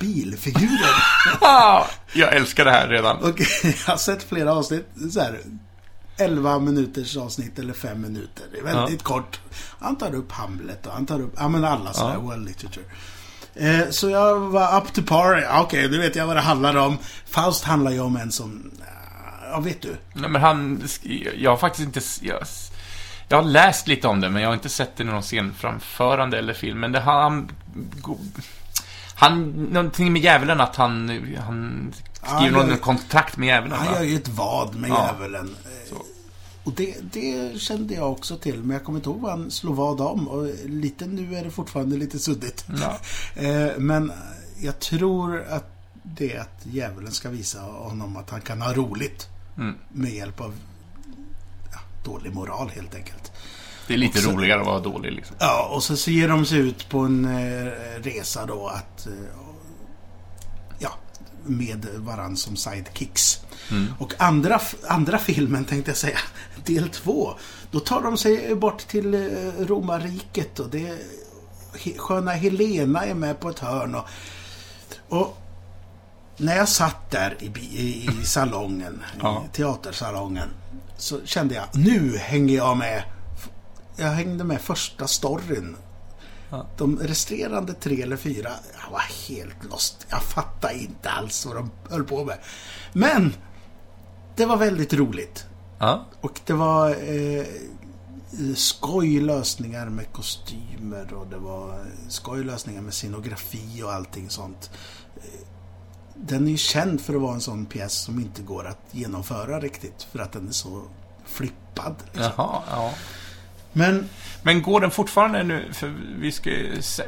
Speaker 2: Playmobil-figurer.
Speaker 1: Ah, jag älskar det här redan.
Speaker 2: och jag har sett flera avsnitt, så här, 11 minuters avsnitt eller 5 minuter. Det är väldigt kort. Han tar upp Hamlet och han tar upp, ja men alla sådana här world literature. Eh, Så jag var up to par, Ja, okej nu vet jag vad det handlar om. Faust handlar ju om en som, ja vet du,
Speaker 1: Nej, men han... sk- Jag har faktiskt inte... s- Jag, s- jag har läst lite om det, men jag har inte sett det i någon scenframförande eller film. Men det han... go- Han... Någonting med djävulen, att han... Han
Speaker 2: han
Speaker 1: skriver någon
Speaker 2: gör- Ah,
Speaker 1: kontrakt med djävulen,
Speaker 2: Han
Speaker 1: va?
Speaker 2: gör ju ett vad med
Speaker 1: Ja.
Speaker 2: djävulen. Eh, Och det, det kände jag också till, men jag kommer inte ihåg vad han slog vad om. Och lite nu är det fortfarande lite suddigt.
Speaker 1: Ja.
Speaker 2: Eh, men jag tror att det är att djävulen ska visa honom att han kan ha roligt.
Speaker 1: Mm.
Speaker 2: Med hjälp av ja, dålig moral helt enkelt.
Speaker 1: Det är lite
Speaker 2: Och så-
Speaker 1: roligare att vara dålig liksom.
Speaker 2: Ja, och så, så ger de sig ut på en eh, resa då att... Eh, ja, med varann som sidekicks. Och andra, f- andra filmen tänkte jag säga, del två, då tar de sig bort till eh, romarriket och det... He- Sköna Helena är med på ett hörn och... och när jag satt där i, bi- i, i salongen,
Speaker 1: Ja.
Speaker 2: i teatersalongen, så kände jag nu hänger jag med jag hängde med första storyn.
Speaker 1: Ja.
Speaker 2: De resterande tre eller fyra, jag var helt lost. Jag fattade inte alls vad de höll på med. Men! Det var väldigt roligt.
Speaker 1: Ja.
Speaker 2: Och det var eh, skoj lösningar med kostymer och det var skoj lösningar med scenografi och allting sånt. Eh, Den är ju känd för att vara en sån pjäs som inte går att genomföra riktigt för att den är så flippad. Liksom.
Speaker 1: Jaha, ja.
Speaker 2: Men
Speaker 1: Men går den fortfarande nu, för vi ska,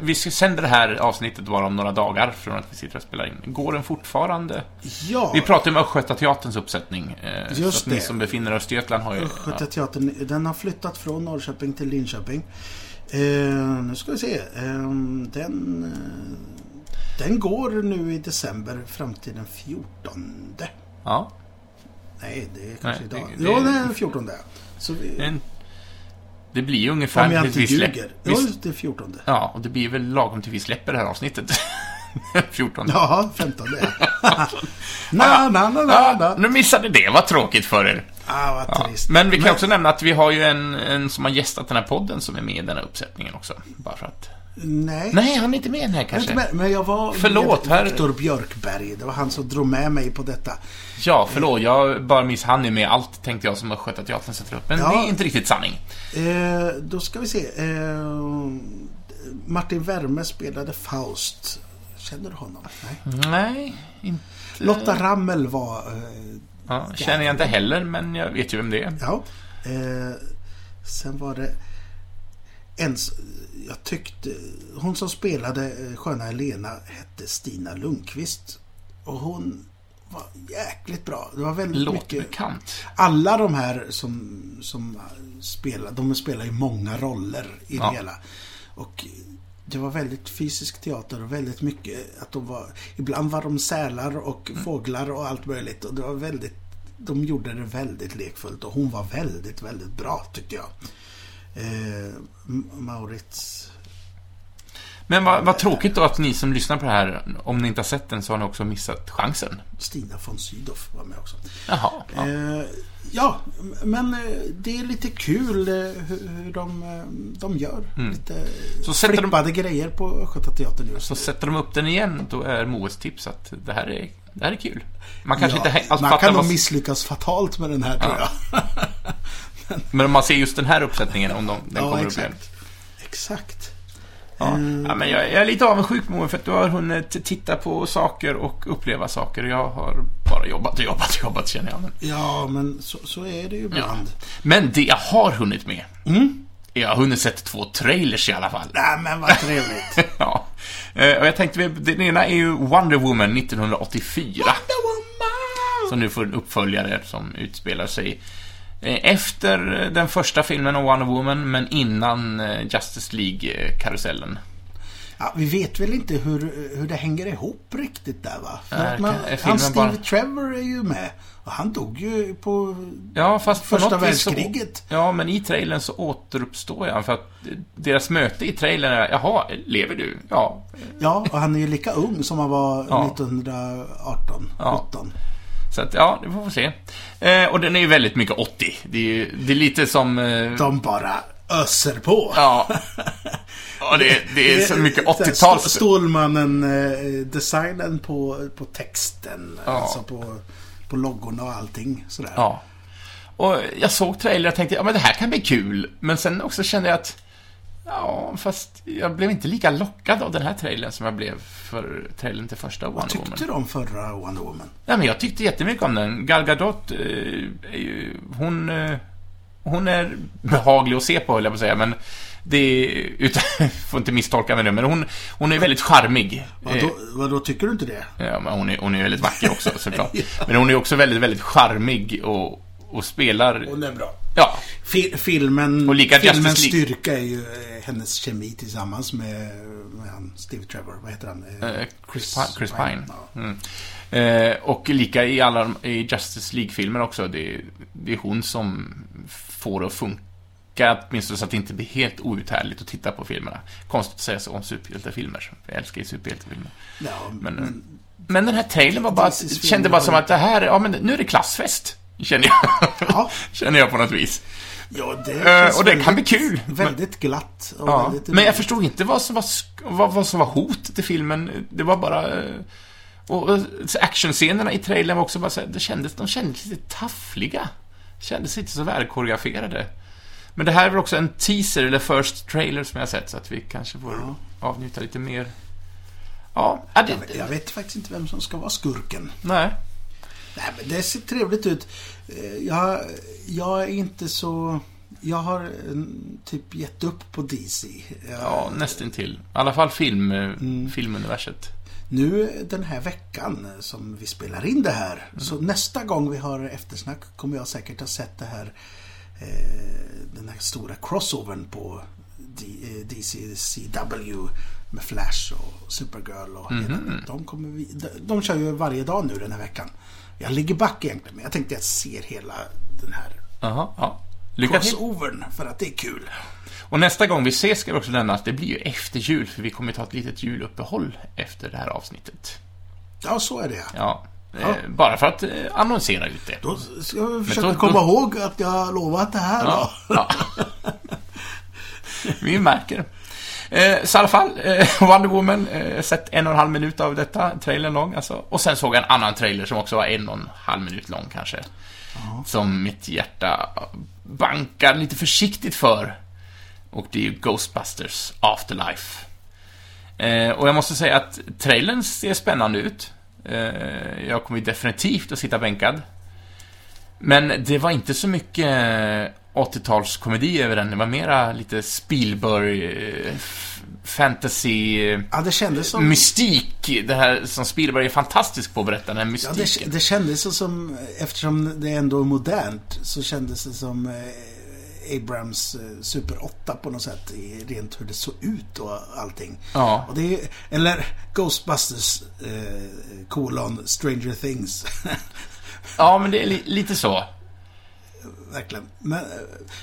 Speaker 1: vi ska sända det här avsnittet bara om några dagar från att vi sitter och spelar in. Går den fortfarande?
Speaker 2: ja...
Speaker 1: Vi pratade om Östgötateaterns uppsättning. eh,
Speaker 2: Just
Speaker 1: så att ni
Speaker 2: det.
Speaker 1: som befinner er i Östergötland har ju...
Speaker 2: Östgötateatern, den har flyttat från Norrköping till Linköping. Eh, nu ska vi se. Eh, den, eh, den går nu i december fram till den 14.
Speaker 1: Ja.
Speaker 2: Nej, det är kanske
Speaker 1: Nej,
Speaker 2: idag.
Speaker 1: det- det-
Speaker 2: ja, det är den 14. Så vi,
Speaker 1: Det, är en, det blir ju ungefär...
Speaker 2: om jag inte
Speaker 1: tills vi släpp-
Speaker 2: ljuger.
Speaker 1: vi-
Speaker 2: Ja, det är 14.
Speaker 1: Ja, och det blir väl lagom till vi släpper det här avsnittet. 14.
Speaker 2: Jaha, 15. ja. na, na, na, na,
Speaker 1: Ah,
Speaker 2: na.
Speaker 1: nu missade det, vad tråkigt för er.
Speaker 2: Ah, vad trist.
Speaker 1: Men vi kan också nämna att vi har ju en, en som har gästat den här podden som är med i den här uppsättningen också. Bara för att...
Speaker 2: Nej.
Speaker 1: Nej, han är inte med i den här
Speaker 2: Jag är
Speaker 1: kanske.
Speaker 2: inte med, men jag var
Speaker 1: Förlåt,
Speaker 2: med
Speaker 1: herr-
Speaker 2: Viktor Björkberg. Det var han som drog med mig på detta.
Speaker 1: Ja, förlåt. Jag bara miss han är med i allt, tänkte jag, som Östgötateatern sätter upp. Men
Speaker 2: Ja.
Speaker 1: det är inte riktigt sanning.
Speaker 2: Eh, då ska vi se. Eh, Martin Werme spelade Faust. Känner du honom? Nej.
Speaker 1: Mm. Nej, inte...
Speaker 2: Lotta Rammel var... Eh,
Speaker 1: Ja, känner jag inte heller, men jag vet ju vem det är.
Speaker 2: ja. Eh, sen var det... En, s- jag tyckte... Hon som spelade eh, sköna Helena hette Stina Lundqvist. Och hon var jäkligt bra. Det var väldigt
Speaker 1: Låter
Speaker 2: mycket...
Speaker 1: bekant.
Speaker 2: Alla de här som, som spelar, de spelar ju många roller i
Speaker 1: Ja.
Speaker 2: det hela. Och det var väldigt fysisk teater och väldigt mycket att de var, ibland var de sälar och
Speaker 1: Mm.
Speaker 2: fåglar och allt möjligt. Och det var väldigt, de gjorde det väldigt lekfullt och hon var väldigt, väldigt bra tyckte jag. Eh, M- Maurits
Speaker 1: Men vad, vad tråkigt då att ni som lyssnar på det här, om ni inte har sett den så har ni också missat chansen.
Speaker 2: Stina von Sydow var med också.
Speaker 1: Jaha. Ja.
Speaker 2: Eh, ja, men eh, det är lite kul eh, hur, hur de, eh, de gör.
Speaker 1: Mm.
Speaker 2: Lite
Speaker 1: Så sätter de-
Speaker 2: flippade grejer på Östgötateatern just
Speaker 1: Så
Speaker 2: nu.
Speaker 1: sätter de upp den igen, då är Moes tips att det här är, det här är kul. Man kanske
Speaker 2: Ja,
Speaker 1: inte he- alls
Speaker 2: man
Speaker 1: fattar
Speaker 2: kan
Speaker 1: vad...
Speaker 2: nog misslyckas fatalt med den här tror jag.
Speaker 1: Men om man ser just den här uppsättningen, om de, den
Speaker 2: Ja,
Speaker 1: kommer upp igen.
Speaker 2: exakt. Exakt.
Speaker 1: Ja.
Speaker 2: Eh,
Speaker 1: Ja, men jag, jag är lite avundsjuk Moe, för att du har hunnit titta på saker och uppleva saker. Jag har bara jobbat och jobbat och jobbat, känner jag. Men,
Speaker 2: Ja, men så, så är det ju ibland.
Speaker 1: men det jag har hunnit med, jag har hunnit sett två trailers i alla fall.
Speaker 2: Nej, men vad trevligt.
Speaker 1: ja. Eh, Och jag tänkte, vi- den ena är ju Wonder Woman 1984. Som nu får en uppföljare som utspelar sig eh, efter eh, den första filmen om Wonder Woman, men innan eh, Justice eh, League-karusellen.
Speaker 2: Ja, vi vet väl inte hur, hur det hänger ihop riktigt där va? För
Speaker 1: Nej,
Speaker 2: att man,
Speaker 1: kan- är filmen
Speaker 2: han Steve
Speaker 1: bara-
Speaker 2: Trevor är ju med. Och han dog ju på
Speaker 1: Ja, fast på
Speaker 2: Första
Speaker 1: något vis så-
Speaker 2: världskriget.
Speaker 1: Ja, men i trailern så återuppstår jag, för att eh, deras möte i trailern är, jaha, lever du? Ja.
Speaker 2: Ja, och han är ju lika ung som han var
Speaker 1: Ja.
Speaker 2: 1918,
Speaker 1: Ja.
Speaker 2: 17.
Speaker 1: Så att, ja, det får vi se. Eh, och den är ju väldigt mycket 80. Det är ju, det är lite som... Eh,
Speaker 2: De bara öser på.
Speaker 1: Ja. ja det, det
Speaker 2: Eh,
Speaker 1: är så mycket
Speaker 2: Det är-
Speaker 1: 80-tal.
Speaker 2: Stå- Stålmannen-designen eh, på, på texten.
Speaker 1: Ja.
Speaker 2: Alltså på, på loggorna och allting. Sådär.
Speaker 1: Ja. Och jag såg trailern och tänkte, ja men det här kan bli kul. Men sen också kände jag att, ja, fast jag blev inte lika lockad av den här trailern som jag blev för trailern till första Wonder Woman.
Speaker 2: Tyckte du om förra Wonder Woman?
Speaker 1: Ja, men jag tyckte jättemycket om den. Gal Gadot, eh, är ju, hon eh, hon är behaglig att se på, höll jag på att säga, men det är, utan, får inte misstolka mig nu, men hon, hon är väldigt charmig. Eh,
Speaker 2: Vadå, vadå, tycker du inte det?
Speaker 1: Ja, men hon är, hon är väldigt vacker också såklart. Men hon är också väldigt, väldigt charmig och, och spelar...
Speaker 2: Hon är bra.
Speaker 1: Ja,
Speaker 2: Fi- filmen,
Speaker 1: Och lika
Speaker 2: filmens
Speaker 1: Justice League.
Speaker 2: styrka är ju eh, hennes kemi tillsammans med, med han, Steve Trevor. Vad heter han? Eh,
Speaker 1: eh, Chris, Pi- Chris Pine.
Speaker 2: Ja.
Speaker 1: Mm. Eh, och lika i alla de- i Justice League-filmer också, det, är- det är hon som får det att funka, åtminstone så att det inte blir helt outhärdligt att titta på filmerna. Konstigt att säga så om superhjältefilmer. Jag älskar ju superhjältefilmer.
Speaker 2: Ja,
Speaker 1: Men, eh, men den här trailern Mm. var bara,
Speaker 2: This is
Speaker 1: kände
Speaker 2: film.
Speaker 1: bara som att det här, ja men nu är det klassfest. Känner jag,
Speaker 2: ja,
Speaker 1: känner jag på något vis.
Speaker 2: ja, det
Speaker 1: Eh,
Speaker 2: känns
Speaker 1: och det
Speaker 2: väldigt-
Speaker 1: kan bli kul.
Speaker 2: Väldigt glatt. Och
Speaker 1: Ja,
Speaker 2: väldigt
Speaker 1: men jag förstod inte vad som var, sk- vad, vad som var hotet i filmen. Det var bara... eh, Och eh, actionscenerna i trailern var också bara så här, det kändes, de kändes lite taffliga. Kändes inte så välkoreograferade. Men det här är väl också en teaser, eller first trailer som jag har sett, så att vi kanske får avnjuta lite mer. Ja, ja, det,
Speaker 2: Jag vet faktiskt inte vem som ska vara skurken.
Speaker 1: nej.
Speaker 2: Nej, men det ser trevligt ut. Eh, Jag, jag är inte så... Jag har eh, typ gett upp på Eh, DC. Jag,
Speaker 1: Ja, nästintill. I alla fall film, eh, filmuniverset.
Speaker 2: Nu den här veckan som vi spelar in det här. Så nästa gång vi har eftersnack kommer jag säkert ha sett det här eh, den här stora crossovern på D- eh, DCCW med Flash och Supergirl och hela, de, kommer vi, de, de kör ju varje dag nu den här veckan. Jag ligger back egentligen men jag tänkte jag ser hela den här
Speaker 1: Jaha, ja. Lycka till.
Speaker 2: crossovern för att det är kul.
Speaker 1: Och nästa gång vi ses ska vi också nämna att det blir ju efter jul, för vi kommer ta ett litet juluppehåll efter det här avsnittet.
Speaker 2: Ja, så är det.
Speaker 1: Ja, Eh, bara för att eh, annonsera ut det.
Speaker 2: Då ska vi försöka
Speaker 1: då- då-
Speaker 2: komma ihåg att jag har lovat det här
Speaker 1: ja,
Speaker 2: då.
Speaker 1: ja. Vi märker. Eh, så i alla fall, eh, Wonder Woman, eh, sett en och en halv minut av detta, trailern lång alltså. Och sen såg jag en annan trailer som också var en och en halv minut lång kanske. Som mitt hjärta bankar lite försiktigt för. Och det är ju Ghostbusters Afterlife. Eh, och jag måste säga att trailern ser spännande ut. Eh, jag kommer ju definitivt att sitta bänkad. Men det var inte så mycket 80-talskomedi över den. Det var mera lite Spielberg, eh, f- fantasy, eh,
Speaker 2: Ja, det kändes som...
Speaker 1: mystik. Det här som Spielberg är fantastisk på att berätta, den här
Speaker 2: Ja,
Speaker 1: mystiken.
Speaker 2: det, det kändes så som, eftersom det ändå är modernt, så kändes det som eh, Abrams eh, Super 8 på något sätt, i rent hur det såg ut och allting.
Speaker 1: Ja.
Speaker 2: Och det är, eller Ghostbusters eh, kolon Stranger Things.
Speaker 1: ja, men det är li- lite så.
Speaker 2: Verkligen. Men, eh,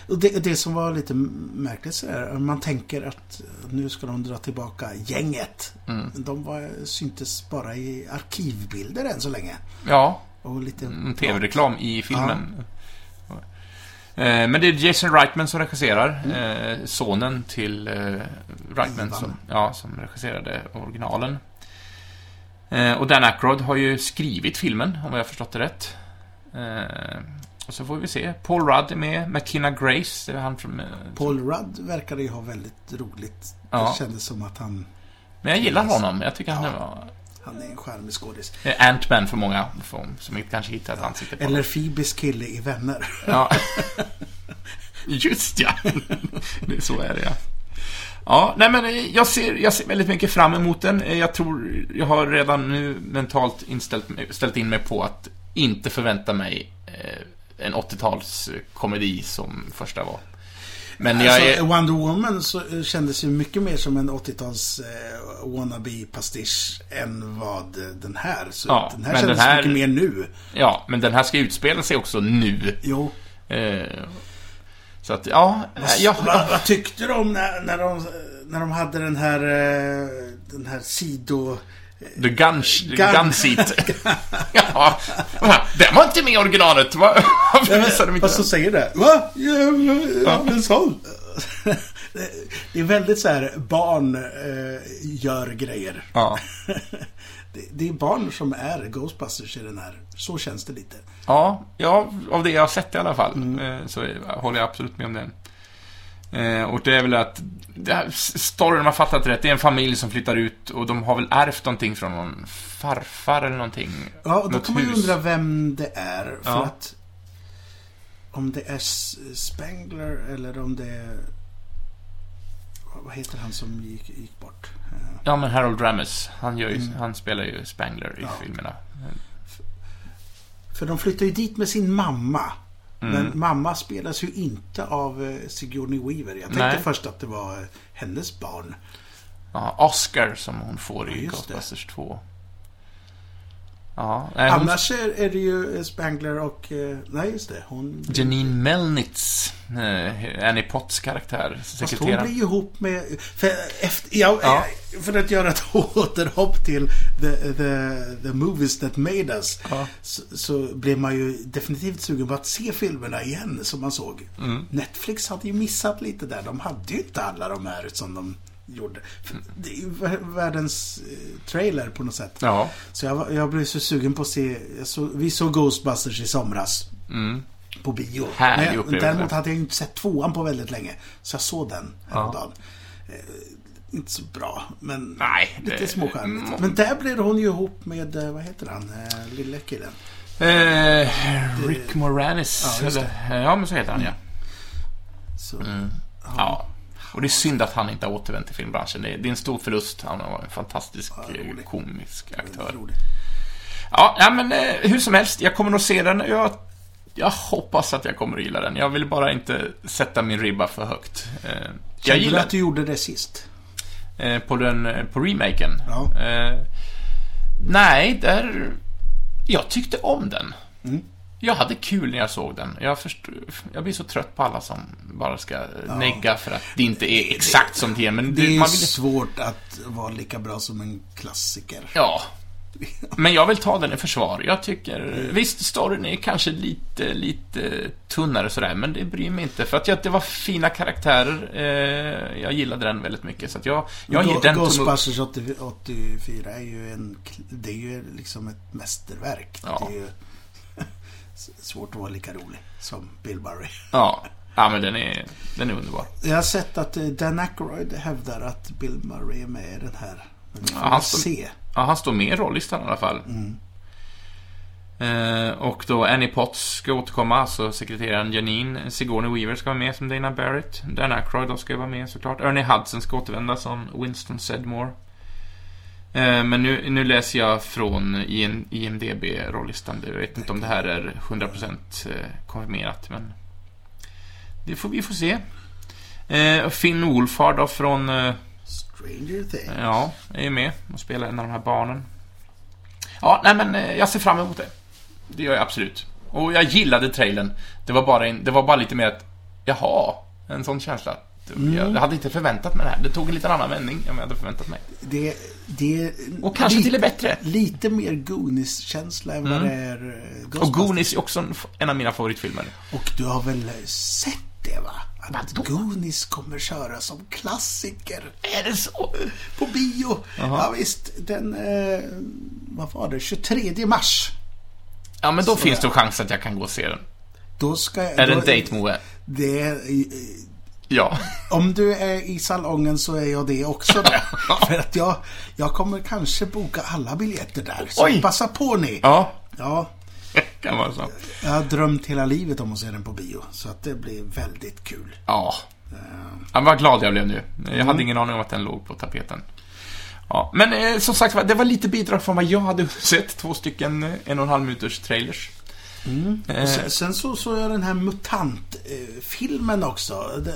Speaker 2: och det, det som var lite märkligt så är man tänker att nu ska de dra tillbaka gänget.
Speaker 1: Mm.
Speaker 2: De var, syntes bara i arkivbilder än så länge.
Speaker 1: Ja,
Speaker 2: Och lite...
Speaker 1: Mm, en tv-reklam i filmen. Eh, Men det är Jason Reitman som regisserar,
Speaker 2: Mm.
Speaker 1: eh, sonen till eh, Reitman
Speaker 2: Ivan.
Speaker 1: som, ja, som regisserade originalen. Eh, Och Dan Aykroyd har ju skrivit filmen, om jag har förstått det rätt. Eh, Och så får vi se. Paul Rudd är med, McKenna Grace, det är han från... eh,
Speaker 2: Paul Rudd verkade ju ha väldigt roligt.
Speaker 1: Ja.
Speaker 2: Det kändes som att han,
Speaker 1: Men jag gillar honom, jag tycker han är bra.
Speaker 2: han är en charmig skådis.
Speaker 1: Eh, Ant-Man för många, för- som inte kanske hittar ett ansikte på.
Speaker 2: Eller Phoebes kille i Vänner.
Speaker 1: Ja. Just ja. Det- Så är det ja. Ja, nej men eh, jag ser, jag ser väldigt mycket fram emot den. Eh, Jag tror, jag har redan nu mentalt inställt, mig- ställt in mig på att inte förvänta mig eh, en 80-talskomedi som första var. Men jag
Speaker 2: Alltså,
Speaker 1: är...
Speaker 2: Wonder Woman så eh, kändes ju mycket mer som en 80-tals eh, wannabe-pastisch än vad eh, den här. Så
Speaker 1: Ja,
Speaker 2: den här
Speaker 1: men den
Speaker 2: kändes
Speaker 1: här-
Speaker 2: mycket mer nu.
Speaker 1: Ja, men den här ska utspela sig också nu.
Speaker 2: Jo.
Speaker 1: Eh, så att, Eh, ja. Jag,
Speaker 2: Vad, vad tyckte du om när, när, de, när de hade den här, eh, den här sido...
Speaker 1: the gun, the
Speaker 2: Gun.
Speaker 1: gun seat. ja, va? den var inte med i originalet. Va? Varför visade de inte
Speaker 2: Vad
Speaker 1: den?
Speaker 2: som säger det? Va? Ja, men- ja, men så. Det- Det är väldigt så här, barn eh, gör grejer.
Speaker 1: Ja.
Speaker 2: Det, det är barn som är Ghostbusters i den här. Så känns det lite.
Speaker 1: Ja, ja, av det jag har sett i alla fall eh, så håller jag absolut med om den. Eh, Och det är väl att det här, s- storyn, om jag fattat rätt, det är en familj som flyttar ut och de har väl ärvt någonting från någon farfar eller någonting.
Speaker 2: Ja, och då
Speaker 1: Något
Speaker 2: kan man ju
Speaker 1: hus.
Speaker 2: undra vem det är. För
Speaker 1: Ja.
Speaker 2: att om det är S- Spengler eller om det är... Vad heter han som gick, gick bort? Eh,
Speaker 1: Ja, men Harold Ramis, han, gör ju,
Speaker 2: Mm.
Speaker 1: han spelar ju Spangler i
Speaker 2: Ja.
Speaker 1: filmerna.
Speaker 2: För de flyttar ju dit med sin mamma.
Speaker 1: Mm.
Speaker 2: Men mamma spelas ju inte av eh, Sigourney Weaver. Jag tänkte
Speaker 1: Nej.
Speaker 2: först att det var eh, hennes barn.
Speaker 1: Ja, Oscar som hon får
Speaker 2: Ja,
Speaker 1: i
Speaker 2: just det.
Speaker 1: Ghostbusters 2. Ja, nej, hon,
Speaker 2: Annars är, är det ju eh, Spangler och... eh, Nej, just det. Hon,
Speaker 1: Janine Melnitz, eh, Annie Potts karaktär,
Speaker 2: fast hon blir
Speaker 1: sekreteraren.
Speaker 2: ju ihop med... För, efter, ja,
Speaker 1: Ja.
Speaker 2: eh, för att göra ett återhopp till the, the, the movies that made us.
Speaker 1: Ja.
Speaker 2: Så, så blev man ju definitivt sugen på att se filmerna igen som man såg.
Speaker 1: Mm.
Speaker 2: Netflix hade ju missat lite där. De hade ju inte alla de här som de gjorde. För Det är ju vär- världens eh, trailer på något sätt.
Speaker 1: Ja,
Speaker 2: Så jag, var- jag blev så sugen på att se... Jag såg- vi såg Ghostbusters i somras.
Speaker 1: mm.
Speaker 2: På bio.
Speaker 1: Härlig
Speaker 2: Men jag-
Speaker 1: upplevelse.
Speaker 2: Däremot hade jag ju inte sett tvåan på väldigt länge. Så jag såg den häromdagen. Eh, inte så bra, men
Speaker 1: Nej,
Speaker 2: lite
Speaker 1: det-
Speaker 2: småskärmigt.
Speaker 1: mm.
Speaker 2: Men där blir hon ju ihop med, eh, vad heter han, eh, lille killen.
Speaker 1: eh, Rick Moranis,
Speaker 2: Ja, just det. Mm.
Speaker 1: eller, ja men så heter han ja.
Speaker 2: Så,
Speaker 1: Mm, Ja. Och det är synd att han inte har återvänt till filmbranschen. Det är, det är en stor förlust. Han var en fantastisk
Speaker 2: Ja, rolig.
Speaker 1: eh, komisk aktör.
Speaker 2: roligt.
Speaker 1: Ja, ja men eh, hur som helst. Jag kommer nog se den. Jag, jag hoppas att jag kommer att gilla den. Jag vill bara inte sätta min ribba för högt. Eh, jag
Speaker 2: Kände du
Speaker 1: gillar
Speaker 2: att du gjorde det sist?
Speaker 1: eh, på, den, eh, på remaken.
Speaker 2: Ja.
Speaker 1: Eh, nej, där... Jag tyckte om den.
Speaker 2: Mm.
Speaker 1: Jag hade kul när jag såg den. Jag, förstår, jag blir så trött på alla som bara ska eh, negga för att det inte är exakt som det är. Men
Speaker 2: Det är ju
Speaker 1: man vill...
Speaker 2: svårt att vara lika bra som en klassiker.
Speaker 1: Ja. Men jag vill ta den i försvar. Jag
Speaker 2: Mm.
Speaker 1: tycker, visst, storyn är kanske lite, lite tunnare sådär, men det bryr mig inte. För att jag, det var fina karaktärer, eh, jag gillade den väldigt mycket. Så att jag, jag ger
Speaker 2: Go-
Speaker 1: den tumme upp.
Speaker 2: Ghostbusters 80 84 är ju en... kl- Det är ju liksom ett mästerverk.
Speaker 1: Ja.
Speaker 2: Det är ju s- svårt att vara lika rolig som Bill Murray.
Speaker 1: Ja. ja, men den är, den är underbar.
Speaker 2: Jag har sett att eh, Dan Aykroyd hävdar att Bill Murray är med i den här. Men vi får
Speaker 1: Ja, han
Speaker 2: väl
Speaker 1: står-
Speaker 2: se. Mm.
Speaker 1: Ja, han står med i rollistan i alla fall. Eh, och då Annie Potts ska återkomma, alltså sekreteraren Janine. Sigourney Weaver ska vara med som Dana Barrett. Dan Aykroyd då ska vara med såklart. Ernie Hudson ska återvända som Winston Sedmore. Eh, Men nu, nu läser jag från IN IMDB-rollistan. Jag vet inte om det här är 100% eh, konfirmerat, men... Det får vi får se. Eh, Finn Wolfhard då från... eh,
Speaker 2: Stranger Things.
Speaker 1: Ja, jag är med och spelar en av de här barnen. Ja, nej men eh, jag ser fram emot det. Det gör jag absolut. Och jag gillade trailern. Det var bara, en, det var bara lite mer att, jaha, en sån känsla. att Jag hade inte förväntat mig det här. Det tog en liten annan vändning än vad jag hade förväntat mig.
Speaker 2: Det, det är
Speaker 1: Och kanske
Speaker 2: lite,
Speaker 1: till det bättre.
Speaker 2: Lite mer Goonies-känsla än vad det är eh,
Speaker 1: Och
Speaker 2: Ghostbusters.
Speaker 1: Goonies är också en, f- en av mina favoritfilmer.
Speaker 2: Och du har väl eh, sett det va? Att Goonies kommer köra som klassiker.
Speaker 1: Är det så?
Speaker 2: på bio. Ja, visst, den, eh, vad var det, 23 mars.
Speaker 1: Ja, men då
Speaker 2: Så
Speaker 1: finns
Speaker 2: ja.
Speaker 1: det en chans att jag kan gå och se den.
Speaker 2: Då ska
Speaker 1: Är det en date Moe?
Speaker 2: Det är, eh,
Speaker 1: Ja.
Speaker 2: om du är i salongen så är jag det också där. För att jag, jag kommer kanske boka alla biljetter där. Så
Speaker 1: Oj.
Speaker 2: passa på ni.
Speaker 1: Ja,
Speaker 2: Ja,
Speaker 1: kan vara så.
Speaker 2: jag har drömt hela livet om att se den på bio. Så att det blir väldigt kul.
Speaker 1: Ja. ja vad glad jag blev nu. Jag
Speaker 2: Mm.
Speaker 1: hade ingen aning om att den låg på tapeten. Ja, men eh, som sagt var, det var lite bidrag från vad jag hade sett. Två stycken eh, en och en halv minuters trailers.
Speaker 2: Mm. Och
Speaker 1: Eh,
Speaker 2: sen, sen så såg jag den här MUTANT-filmen också. Det-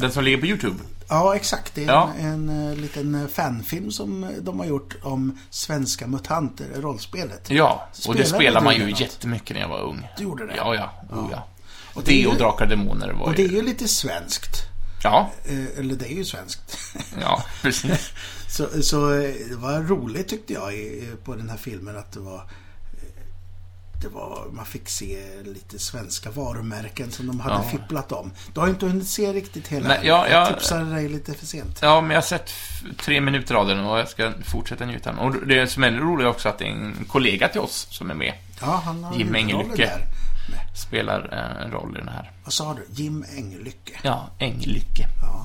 Speaker 1: den som ligger på YouTube.
Speaker 2: Ja, exakt. Det är
Speaker 1: Ja.
Speaker 2: en, en eh, liten eh, fanfilm som eh, de har gjort om svenska mutanter, rollspelet.
Speaker 1: Ja, och det
Speaker 2: Spelade
Speaker 1: spelar
Speaker 2: du
Speaker 1: man
Speaker 2: den
Speaker 1: ju
Speaker 2: något?
Speaker 1: jättemycket när jag var ung.
Speaker 2: Du gjorde det?
Speaker 1: Ja, ja. Oh, ja. Och
Speaker 2: det är
Speaker 1: det
Speaker 2: ju-
Speaker 1: och Drakar och Demoner var
Speaker 2: Och det är
Speaker 1: ju...
Speaker 2: ju lite svenskt.
Speaker 1: Ja,
Speaker 2: Eh, Eller det är ju svenskt.
Speaker 1: ja, precis.
Speaker 2: så, så eh, det var roligt tyckte jag i- eh, på den här filmen att det var eh, det var, man fick se lite svenska varumärken som de hade
Speaker 1: Ja.
Speaker 2: fipplat om. Du har ju inte hunnit se riktigt hela.
Speaker 1: Nej, ja,
Speaker 2: jag
Speaker 1: jag-
Speaker 2: tipsade dig lite för sent.
Speaker 1: Ja, men jag har sett f- tre minuter av den och jag ska fortsätta njuta. Och det som är roligt är också att det är en kollega till oss som är med.
Speaker 2: Ja, han har
Speaker 1: Jim
Speaker 2: huvudrollen
Speaker 1: Engellycke.
Speaker 2: där.
Speaker 1: Spelar eh, en roll i den här.
Speaker 2: Vad sa du? Jim Engellycke.
Speaker 1: Ja, Änglycke.
Speaker 2: Ja,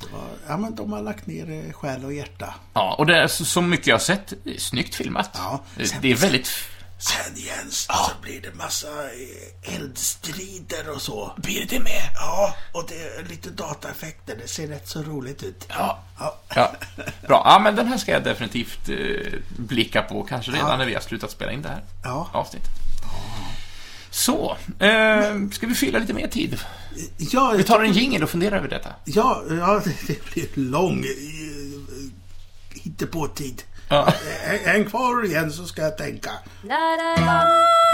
Speaker 2: det var, ja men de har lagt ner eh, själ och hjärta.
Speaker 1: Ja, och det är så, så mycket jag har sett, det är snyggt filmat.
Speaker 2: Ja.
Speaker 1: det, det är väldigt... f-
Speaker 2: Sen Jens, så blir det massa eh, eldstrider och så.
Speaker 1: Blir det med?
Speaker 2: Ja, och det är lite dataeffekter. Det ser rätt så roligt ut.
Speaker 1: Ja.
Speaker 2: Ja.
Speaker 1: Ja, bra. Ja, men den här ska jag definitivt eh, blicka på, kanske redan när vi har slutat spela in det här
Speaker 2: Ja.
Speaker 1: avsnittet. Så, eh, ska vi fylla lite mer tid?
Speaker 2: Ja,
Speaker 1: Vi tar en jingel och funderar över detta.
Speaker 2: ja, ja det, det blir lång hitta på tid
Speaker 1: Ja.
Speaker 2: En- Eh, En kvar igen så ska jag tänka.
Speaker 4: La la la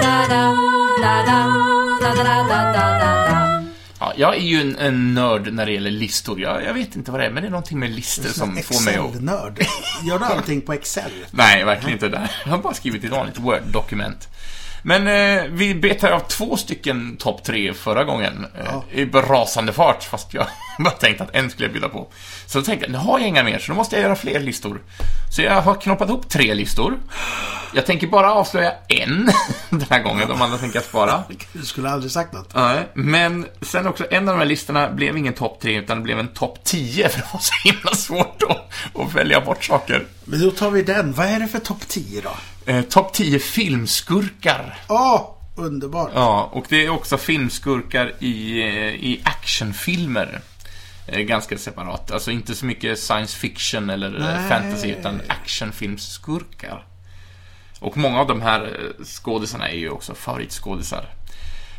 Speaker 4: la la la la la la la la.
Speaker 1: Ja, jag är ju en, en nörd när det gäller listor. Jag, jag vet inte vad det är, men det är någonting med listor som får mig att...
Speaker 2: Excel-nörd. Gör du allting på Excel?
Speaker 1: Nej, verkligen inte det. Jag har bara skrivit ett vanligt Word-dokument. Men eh, vi betade av två stycken topp tre förra gången. Eh, I rasande fart, fast jag bara tänkte att en skulle jag bjuda på. Så då tänkte jag, nu har jag inga mer, så då måste jag göra fler listor. Så jag har knoppat ihop tre listor. Jag tänker bara avslöja en den här gången, de andra tänker jag spara.
Speaker 2: Du skulle aldrig sagt något.
Speaker 1: Nej, men sen också, en av de här listorna blev ingen topp 3, utan det blev en topp 10, för det var så himla svårt att, att välja bort saker.
Speaker 2: Men då tar vi den. Vad är det för topp 10 då?
Speaker 1: Eh, topp 10 filmskurkar.
Speaker 2: Ja, underbart.
Speaker 1: Ja, och det är också filmskurkar i, eh, i actionfilmer. Eh, Ganska separat. Alltså inte så mycket science fiction eller eh,
Speaker 2: Nej.
Speaker 1: fantasy, utan actionfilmsskurkar. Och många av de här eh, skådisarna är ju också favoritskådisar.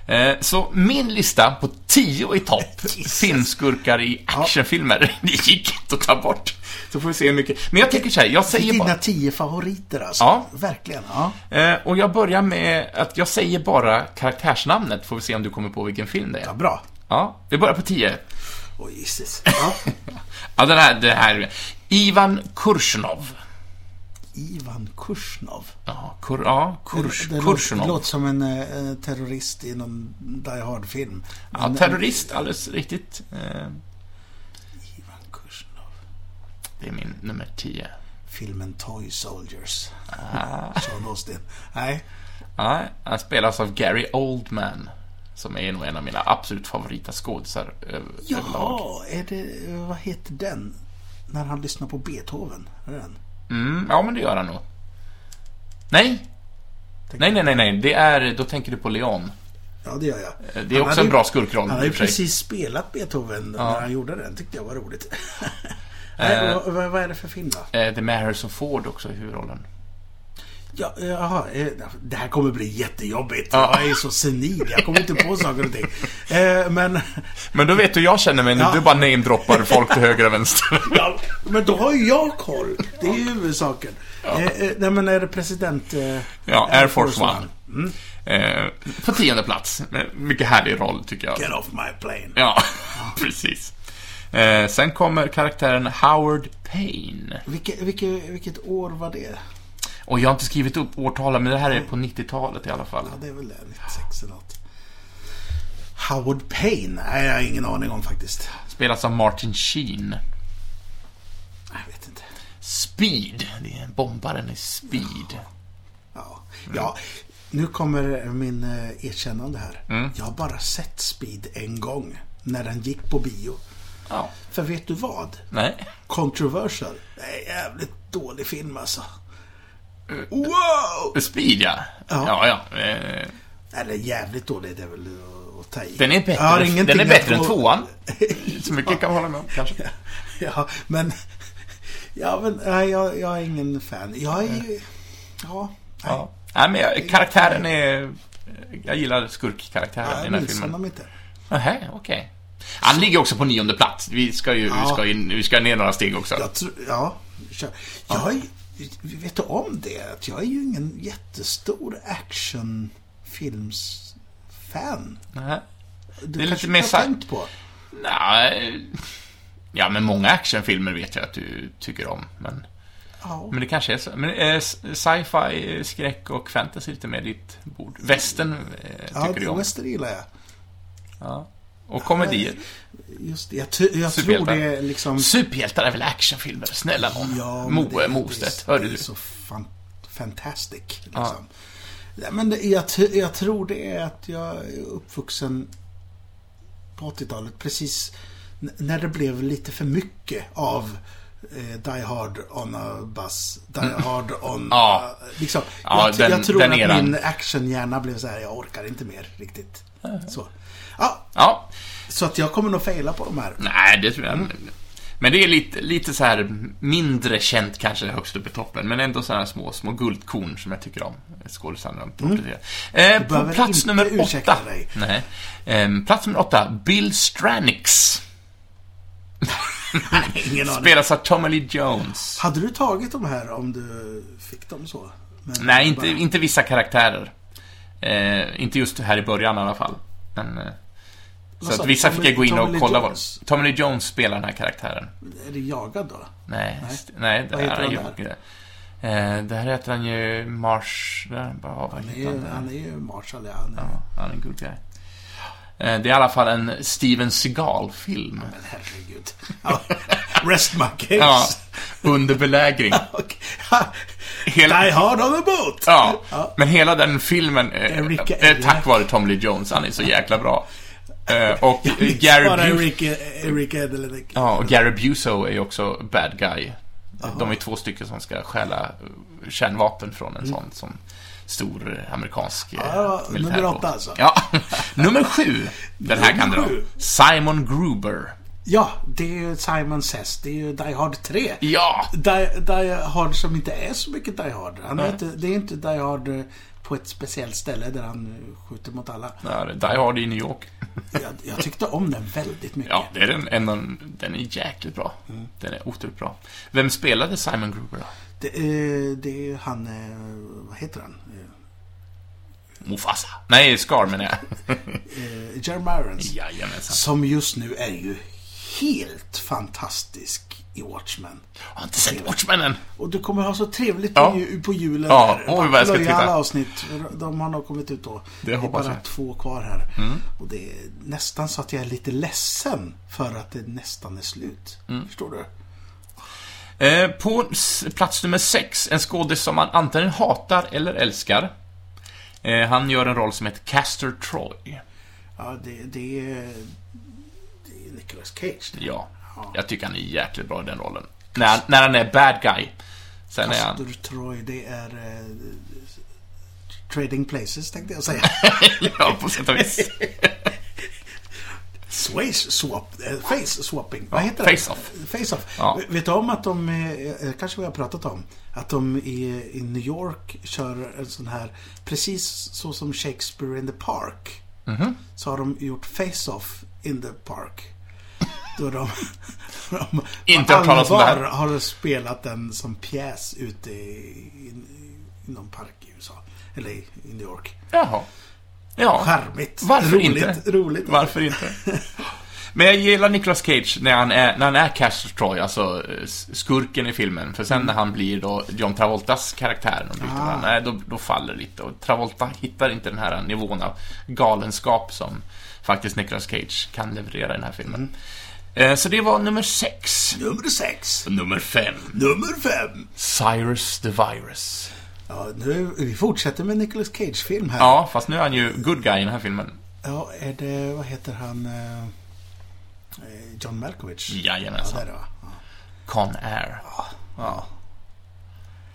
Speaker 1: Eh, Så min lista på 10 i topp
Speaker 2: Jesus.
Speaker 1: filmskurkar i actionfilmer, det gick inte att ta bort. Så får vi se hur mycket. Men jag tänker så här, jag säger bara...
Speaker 2: Dina 10 favoriter alltså.
Speaker 1: Ja.
Speaker 2: Verkligen. Ja.
Speaker 1: Eh, och jag börjar med att jag säger bara karaktärsnamnet, får vi se om du kommer på vilken film det
Speaker 2: ja
Speaker 1: är.
Speaker 2: bra.
Speaker 1: Ja, vi börjar på 10.
Speaker 2: Oj, Jesus. Ja.
Speaker 1: Ja, den här, det här. Ivan Kursnov.
Speaker 2: Ivan Kursnov.
Speaker 1: Ja, kur, ja kurs,
Speaker 2: det, det
Speaker 1: Kursnov.
Speaker 2: låter, låter som en eh, terrorist i någon Die Hard-film.
Speaker 1: ja,
Speaker 2: Men,
Speaker 1: terrorist, alldeles riktigt. Eh,
Speaker 2: eh, Ivan Kursnov.
Speaker 1: det är min nummer 10.
Speaker 2: Filmen Toy Soldiers. Sean Austin. Nej.
Speaker 1: Ja, han spelas av Gary Oldman, som är nog en av mina absolut favorita skådisar över- överlag.
Speaker 2: Ja, är det... eh, Vad heter den? När han lyssnar på Beethoven. Är det den?
Speaker 1: Mm, ja, men det gör han nog. Nej! Nej, nej, nej, nej. Det är, då tänker du på Leon.
Speaker 2: Ja, Eh, det gör jag.
Speaker 1: Det är också en bra skurkroll.
Speaker 2: Han har
Speaker 1: i
Speaker 2: ju
Speaker 1: och för sig.
Speaker 2: precis spelat Beethoven när han gjorde den. tyckte jag var roligt. Nej,
Speaker 1: Eh.
Speaker 2: vad, vad- vad är det för film då?
Speaker 1: Eh, det är med Harrison Ford också i huvudrollen.
Speaker 2: Ja, eh, jaha, eh, det här kommer bli jättejobbigt. Jag är så senil, jag kommer inte på saker och ting. Eh, Men,
Speaker 1: Men då vet du hur jag känner mig nu.
Speaker 2: Ja.
Speaker 1: Du bara namedroppar folk till höger och vänster.
Speaker 2: ja, men då har ju jag koll. Det är ju huvudsaken. Eh, eh, Nej, men är det president... eh,
Speaker 1: Ja, Air Force One. Eh, på tionde plats. Eh, Mycket härlig roll, tycker jag.
Speaker 2: Get off my plane.
Speaker 1: Ja, precis. Eh, sen kommer karaktären Howard Payne.
Speaker 2: Vilke, vilke, vilket år var det?
Speaker 1: Och jag har inte skrivit upp årtalen, men det här är på 90-talet i alla fall.
Speaker 2: Ja, det är väl det. 96 eller något. Howard Payne? Nej, jag har ingen aning om faktiskt.
Speaker 1: Spelas av Martin Sheen.
Speaker 2: Jag vet inte.
Speaker 1: Speed. Det är bombaren i Speed.
Speaker 2: Ja, ja nu kommer min eh, erkännande här.
Speaker 1: Mm.
Speaker 2: Jag har bara sett Speed en gång. När den gick på bio.
Speaker 1: Ja.
Speaker 2: För vet du vad?
Speaker 1: Nej.
Speaker 2: Controversial. Det är jävligt dålig film alltså. Wow!
Speaker 1: Speed, ja. Ja, ja. Eh,
Speaker 2: Eller jävligt dålig, det är väl att ta i.
Speaker 1: Den är
Speaker 2: Jag har
Speaker 1: bättre,
Speaker 2: ingenting
Speaker 1: den är bättre än
Speaker 2: emot-
Speaker 1: tvåan. Så mycket kan jag hålla med om, kanske.
Speaker 2: Ja, men... Ja, men nej, jag, jag är ingen fan. Jag är ju... Ja.
Speaker 1: Ja. Nej, men jag, karaktären är... Jag gillar skurkkaraktären i
Speaker 2: Jag
Speaker 1: den här
Speaker 2: minns
Speaker 1: filmen.
Speaker 2: honom inte.
Speaker 1: Nähä, okej. Han ligger också på nionde plats. Vi ska ju vi ska in, vi ska ner några steg också.
Speaker 2: Jag tror, ja, kör. Jag är, ju- vet du om det? Att jag är ju ingen jättestor actionfilmsfan.
Speaker 1: Nähä.
Speaker 2: Du
Speaker 1: är
Speaker 2: kanske
Speaker 1: lite mer
Speaker 2: inte har
Speaker 1: sci-
Speaker 2: tänkt på.
Speaker 1: Nej. Ja, men många actionfilmer vet jag att du tycker om. Men,
Speaker 2: Ja,
Speaker 1: men det kanske är så. Men eh, sci-fi, eh, skräck och fantasy är lite mer ditt bord. Western eh,
Speaker 2: ja
Speaker 1: tycker du om.
Speaker 2: Western gillar jag.
Speaker 1: Ja. Och komedier.
Speaker 2: Just det. Jag, ty- jag tror
Speaker 1: Superhjältar.
Speaker 2: det är liksom...
Speaker 1: Superhjältar är väl actionfilmer? Snälla nån.
Speaker 2: Ja, men det-
Speaker 1: Moe
Speaker 2: det
Speaker 1: Mostedt,
Speaker 2: är-
Speaker 1: hörde
Speaker 2: Det
Speaker 1: du?
Speaker 2: är så fan, fantastic, liksom. Ja. Men det, jag, t- jag tror det är att jag är uppvuxen på 80-talet, precis n- när det blev lite för mycket av eh, Die Hard on a Bus, Die Hard on...
Speaker 1: Mm. Ja.
Speaker 2: eh, liksom,
Speaker 1: Ja,
Speaker 2: jag, t-
Speaker 1: den-
Speaker 2: jag tror
Speaker 1: den
Speaker 2: att
Speaker 1: eran.
Speaker 2: min actionhjärna blev så här, jag orkar inte mer riktigt. Så. Ja,
Speaker 1: Ja,
Speaker 2: så att jag kommer nog fejla på de här.
Speaker 1: nej, det tror jag Men det är lite, lite så här mindre känt kanske högst upp i toppen, men ändå sådana små, små guldkorn som jag tycker om. Skådisarna eh, På
Speaker 2: Mm. behöver
Speaker 1: plats
Speaker 2: inte
Speaker 1: nummer
Speaker 2: ursäkta
Speaker 1: åtta.
Speaker 2: dig.
Speaker 1: Nej. Eh, plats nummer åtta, Bill Stranix.
Speaker 2: Ingen aning.
Speaker 1: Spelas av Tommy Lee Jones.
Speaker 2: Hade du tagit de här om du fick dem så? Men
Speaker 1: Nej, inte,
Speaker 2: bara-
Speaker 1: inte vissa karaktärer. Eh, inte just här i början i alla fall. Men, eh, så
Speaker 2: sa
Speaker 1: att
Speaker 2: du?
Speaker 1: vissa
Speaker 2: Tommy-
Speaker 1: fick jag gå in
Speaker 2: Tommy
Speaker 1: och
Speaker 2: Lee
Speaker 1: kolla vad...
Speaker 2: Jones?
Speaker 1: Tommy Lee Jones spelar den här karaktären.
Speaker 2: Är det jagad då?
Speaker 1: Nej,
Speaker 2: Nej.
Speaker 1: st- nej det
Speaker 2: Vad
Speaker 1: är
Speaker 2: heter
Speaker 1: han ju
Speaker 2: han
Speaker 1: inte. Eh, det här heter han ju Marsh... Där, bara, vad
Speaker 2: Han är
Speaker 1: heter han,
Speaker 2: ju,
Speaker 1: där?
Speaker 2: han är ju Marshall, ja. Han är,
Speaker 1: Ja, han är en good guy. Eh, det är i alla fall en Steven Seagal-film.
Speaker 2: Men herregud. Ja, Rest my case.
Speaker 1: Ja, under belägring.
Speaker 2: Och-
Speaker 1: Hela-
Speaker 2: Die hard on the boat!
Speaker 1: Ja,
Speaker 2: Ja.
Speaker 1: men hela den filmen eh,
Speaker 2: Eric-
Speaker 1: är tack vare Tom Lee Jones. Han är så jäkla bra. Eh, och eh, Gary
Speaker 2: Bara
Speaker 1: Busey...
Speaker 2: Eric, Eric Edelenick.
Speaker 1: Ja, och Gary Busow är ju också bad guy. De är två stycken som ska stjäla eh, kärnvapen från en sån som stor eh, amerikansk eh,
Speaker 2: Mm. Ja, nummer
Speaker 1: militärbåt.
Speaker 2: åtta alltså.
Speaker 1: Ja. nummer sju. Den här kan
Speaker 2: Nummer
Speaker 1: dra.
Speaker 2: sju.
Speaker 1: Simon Gruber.
Speaker 2: Ja, det är ju Simon Says. Det är ju Die Hard 3.
Speaker 1: Ja!
Speaker 2: Die, die Hard som inte är så mycket Die Hard. Han är inte, det är inte Die Hard eh, på ett speciellt ställe där han eh, skjuter mot alla.
Speaker 1: Ja, det- Die Hard i New York.
Speaker 2: Jag, jag tyckte om den väldigt mycket.
Speaker 1: Ja, det är den, en, av- den är jäkligt bra.
Speaker 2: Mm.
Speaker 1: Den är otroligt bra. Vem spelade Simon Gruber då?
Speaker 2: Det, eh, det är ju han, eh, vad heter han? Eh,
Speaker 1: Mufasa. Nej, Scar menar jag.
Speaker 2: eh, Jeremy Irons.
Speaker 1: Jajamensan.
Speaker 2: Som just nu är ju helt fantastisk i Watchmen.
Speaker 1: Jag har inte sett Watchmännen.
Speaker 2: Och du kommer ha så trevligt
Speaker 1: Ja.
Speaker 2: på, ju- på julen.
Speaker 1: Ja,
Speaker 2: där.
Speaker 1: oj, vad jag ska
Speaker 2: Plöja
Speaker 1: titta.
Speaker 2: alla avsnitt. för De har nog kommit ut då.
Speaker 1: Det
Speaker 2: är
Speaker 1: hoppas
Speaker 2: bara
Speaker 1: jag. Mm.
Speaker 2: två kvar här. Och det är nästan så att jag är lite ledsen för att det nästan är slut.
Speaker 1: Mm.
Speaker 2: Förstår du?
Speaker 1: Eh, på s- plats nummer sex, en skådis som man antingen hatar eller älskar. Eh, han gör en roll som heter Caster Troy.
Speaker 2: Ja, det, det, är, det är Nicolas Cage. det.
Speaker 1: Ja, jag tycker han är jäkligt bra i den rollen. När, han- när han är bad guy. Sen är han...
Speaker 2: Castor Troy, det är... eh, Trading Places tänkte jag säga.
Speaker 1: ja, på sätt och vis.
Speaker 2: Face swap, eh, face swapping. Vad heter det?
Speaker 1: face off.
Speaker 2: Face off.
Speaker 1: Ja.
Speaker 2: V- Vet du om att de, eh, eh, kanske vi har pratat om, att de i, i New York kör en sån här, precis så som Shakespeare in the Park.
Speaker 1: Mhm.
Speaker 2: Så har de gjort Face off in the Park. Då de, de
Speaker 1: Inte hört talas om det här.
Speaker 2: allvar har spelat den som pjäs ute i, i, i någon park i USA. Eller i, i New York.
Speaker 1: Jaha. Ja,
Speaker 2: Charmigt.
Speaker 1: varför
Speaker 2: roligt,
Speaker 1: inte?
Speaker 2: Roligt.
Speaker 1: varför inte? Men jag gillar Nicolas Cage när han är, när han är Caster Troy, alltså eh, s- skurken i filmen. För sen när han blir då John Travoltas karaktär, och
Speaker 2: Ah.
Speaker 1: byter varandra, nej, då, då faller det lite. Och Travolta hittar inte den här nivån av galenskap som faktiskt Nicolas Cage kan leverera i den här filmen. Eh, Så det var nummer sex.
Speaker 2: Mm. Nummer sex.
Speaker 1: Nummer fem.
Speaker 2: Nummer fem.
Speaker 1: Cyrus the Virus.
Speaker 2: Ja, nu, vi fortsätter med Nicolas Cage-film här.
Speaker 1: Ja, fast nu är han ju good guy i den här filmen.
Speaker 2: Ja, är det, vad heter han, eh, eh, John Malkovich? Ja,
Speaker 1: Jajamensan.
Speaker 2: det är det va? Ja.
Speaker 1: Con Air. Ja.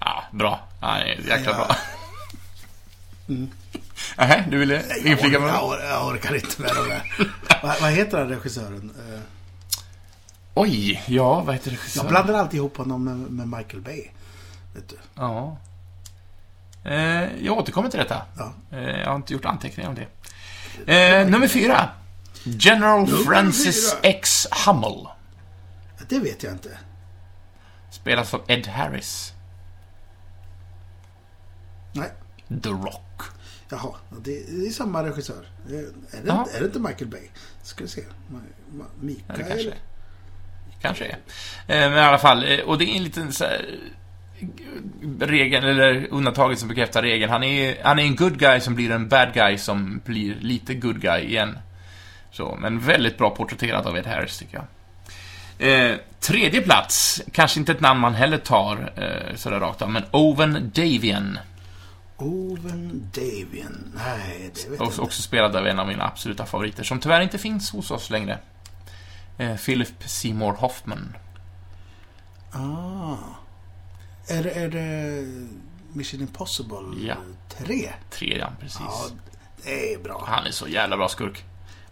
Speaker 1: Ja, bra. Han är jäkla
Speaker 2: Ja. Mm.
Speaker 1: bra. Nähä, du ville inflika med
Speaker 2: jag, or- jag orkar inte med de där. Va, vad heter han regissören? Eh,
Speaker 1: Oj, ja, vad heter
Speaker 2: Jag
Speaker 1: regissören?
Speaker 2: blandar alltid ihop honom med, med Michael Bay. Vet du?
Speaker 1: Ja. Eh, jag återkommer till detta.
Speaker 2: Ja.
Speaker 1: Eh, jag har inte gjort anteckningar om det. Eh, nummer fyra. General Francis
Speaker 2: fyra.
Speaker 1: X. Hummel.
Speaker 2: Det vet jag inte.
Speaker 1: Spelas av Ed Harris.
Speaker 2: Nej.
Speaker 1: The Rock.
Speaker 2: Jaha, det, det är samma regissör. Eh, Är det,
Speaker 1: Ja.
Speaker 2: inte- är det inte Michael Bay? Ska vi se. Ma- Ma-
Speaker 1: Ja, det
Speaker 2: Mikael?
Speaker 1: kanske är. Kanske är. Eh, Men i alla fall, eh, och det är en liten så här, eh, regeln, eller undantaget som bekräftar regeln. Han är, han är en good guy som blir en bad guy som blir lite good guy igen. Så, men väldigt bra porträtterat av Ed Harris, tycker jag. Eh, tredje plats, kanske inte ett namn man heller tar eh, sådär rakt av, men Owen Davian.
Speaker 2: Owen Davian? Nej, det vet jag
Speaker 1: Och
Speaker 2: inte.
Speaker 1: också spelad av en av mina absoluta favoriter, som tyvärr inte finns hos oss längre. Eh, Philip Seymour Hoffman.
Speaker 2: Ah. Är, det- är det Mission Impossible
Speaker 1: Ja.
Speaker 2: 3?
Speaker 1: Trean, precis.
Speaker 2: Ja, det är bra.
Speaker 1: Han är så jävla bra skurk.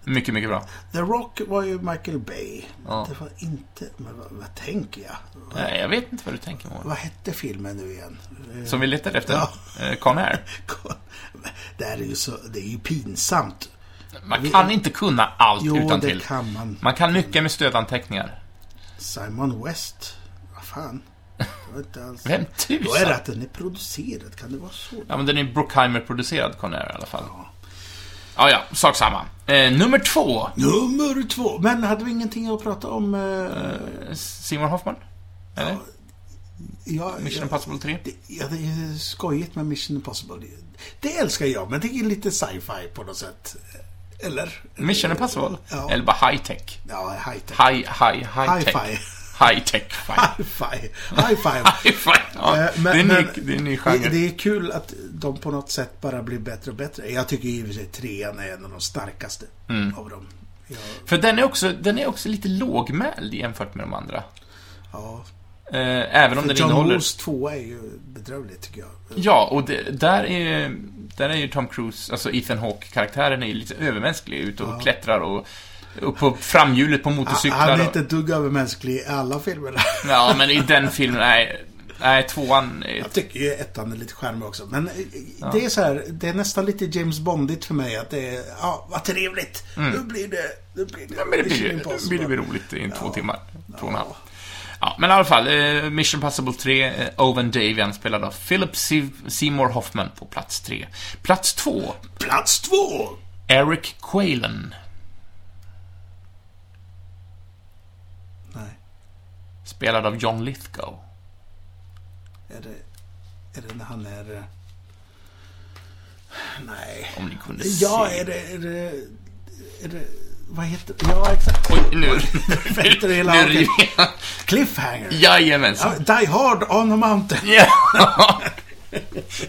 Speaker 1: Mycket, mycket bra.
Speaker 2: The Rock var ju Michael Bay.
Speaker 1: Ja.
Speaker 2: Det var inte... Men vad, vad tänker jag? Vad,
Speaker 1: Nej, jag vet inte vad du tänker på.
Speaker 2: vad hette filmen nu igen? Eh,
Speaker 1: Som vi letade efter?
Speaker 2: Ja.
Speaker 1: Eh, Conair.
Speaker 2: Det här är ju så... Det är ju pinsamt.
Speaker 1: Man kan inte kunna allt
Speaker 2: Jo,
Speaker 1: utan
Speaker 2: det
Speaker 1: till.
Speaker 2: kan man.
Speaker 1: Man kan mycket med stödanteckningar.
Speaker 2: Simon West. Vad fan? Det var inte alls...
Speaker 1: Vem
Speaker 2: Då är
Speaker 1: tusan?
Speaker 2: det att den är producerad. Kan det vara så?
Speaker 1: Ja, men den är Brockheimer-producerad, Conair i alla fall. Ja, ja, sak samma. Eh, nummer två.
Speaker 2: Nummer två! Men hade vi ingenting att prata om? Eh,
Speaker 1: Simon Hoffman? Eller?
Speaker 2: ja,
Speaker 1: Mission
Speaker 2: ja,
Speaker 1: Impossible 3?
Speaker 2: det, ja, det är skojigt med Mission Impossible. Det älskar jag, men det är lite sci-fi på något sätt. Eller?
Speaker 1: Mission Impossible?
Speaker 2: Ja.
Speaker 1: Eller bara high tech?
Speaker 2: Ja, high-tech.
Speaker 1: High, high, high tech.
Speaker 2: Hi-fi.
Speaker 1: High tech. High
Speaker 2: High-fi. High-five.
Speaker 1: five. Ja,
Speaker 2: Eh,
Speaker 1: det,
Speaker 2: men-
Speaker 1: är en ny,
Speaker 2: men-
Speaker 1: det är en ny genre.
Speaker 2: Det, det är kul att de på något sätt bara blir bättre och bättre. Jag tycker i och för sig trean är en av de starkaste
Speaker 1: Mm.
Speaker 2: av dem. Ja,
Speaker 1: För den är, också, den är också lite lågmäld jämfört med de andra.
Speaker 2: ja.
Speaker 1: Eh, även om den
Speaker 2: John
Speaker 1: innehåller...
Speaker 2: Woos tvåa är ju bedrövlig tycker jag.
Speaker 1: Ja, och det, där, är, där är ju Tom Cruise, alltså Ethan Hawke-karaktären är ju lite övermänsklig. Ute och klättrar och upp på framhjulet på motorcyklar.
Speaker 2: Han är
Speaker 1: och-
Speaker 2: inte ett dugg övermänsklig i alla filmerna.
Speaker 1: Ja, men i den filmen, nej. Nej, tvåan är...
Speaker 2: Jag tycker ju ettan är lite charmig också. Men eh, det är så här, det är nästan lite James Bondigt för mig att det är, ja, vad trevligt. Nu blir det, nu blir det,
Speaker 1: Mm. Ja, Men det blir
Speaker 2: Mission
Speaker 1: ju
Speaker 2: Impossible.
Speaker 1: blir det blir roligt i två timmar. Två och en halv.
Speaker 2: Ja.
Speaker 1: Ja, men i alla fall, eh, Mission Possible 3, eh, Owen Davian spelad av Philip Se- Seymour Hoffman på plats 3. Plats 2,
Speaker 2: Plats två!
Speaker 1: Eric Quaylen,
Speaker 2: Nej,
Speaker 1: spelad av John Lithgow.
Speaker 2: är det, är det när han är... eh, Nej.
Speaker 1: Om ni kunde
Speaker 2: Ja,
Speaker 1: se.
Speaker 2: är det, är det, är det, vad heter det? Ja, exakt.
Speaker 1: Oj, nu...
Speaker 2: Väntar hela
Speaker 1: nu
Speaker 2: arken.
Speaker 1: river jag.
Speaker 2: Cliffhanger.
Speaker 1: Jajamensan.
Speaker 2: Ja, Die Hard on a Mountain.
Speaker 1: Ja.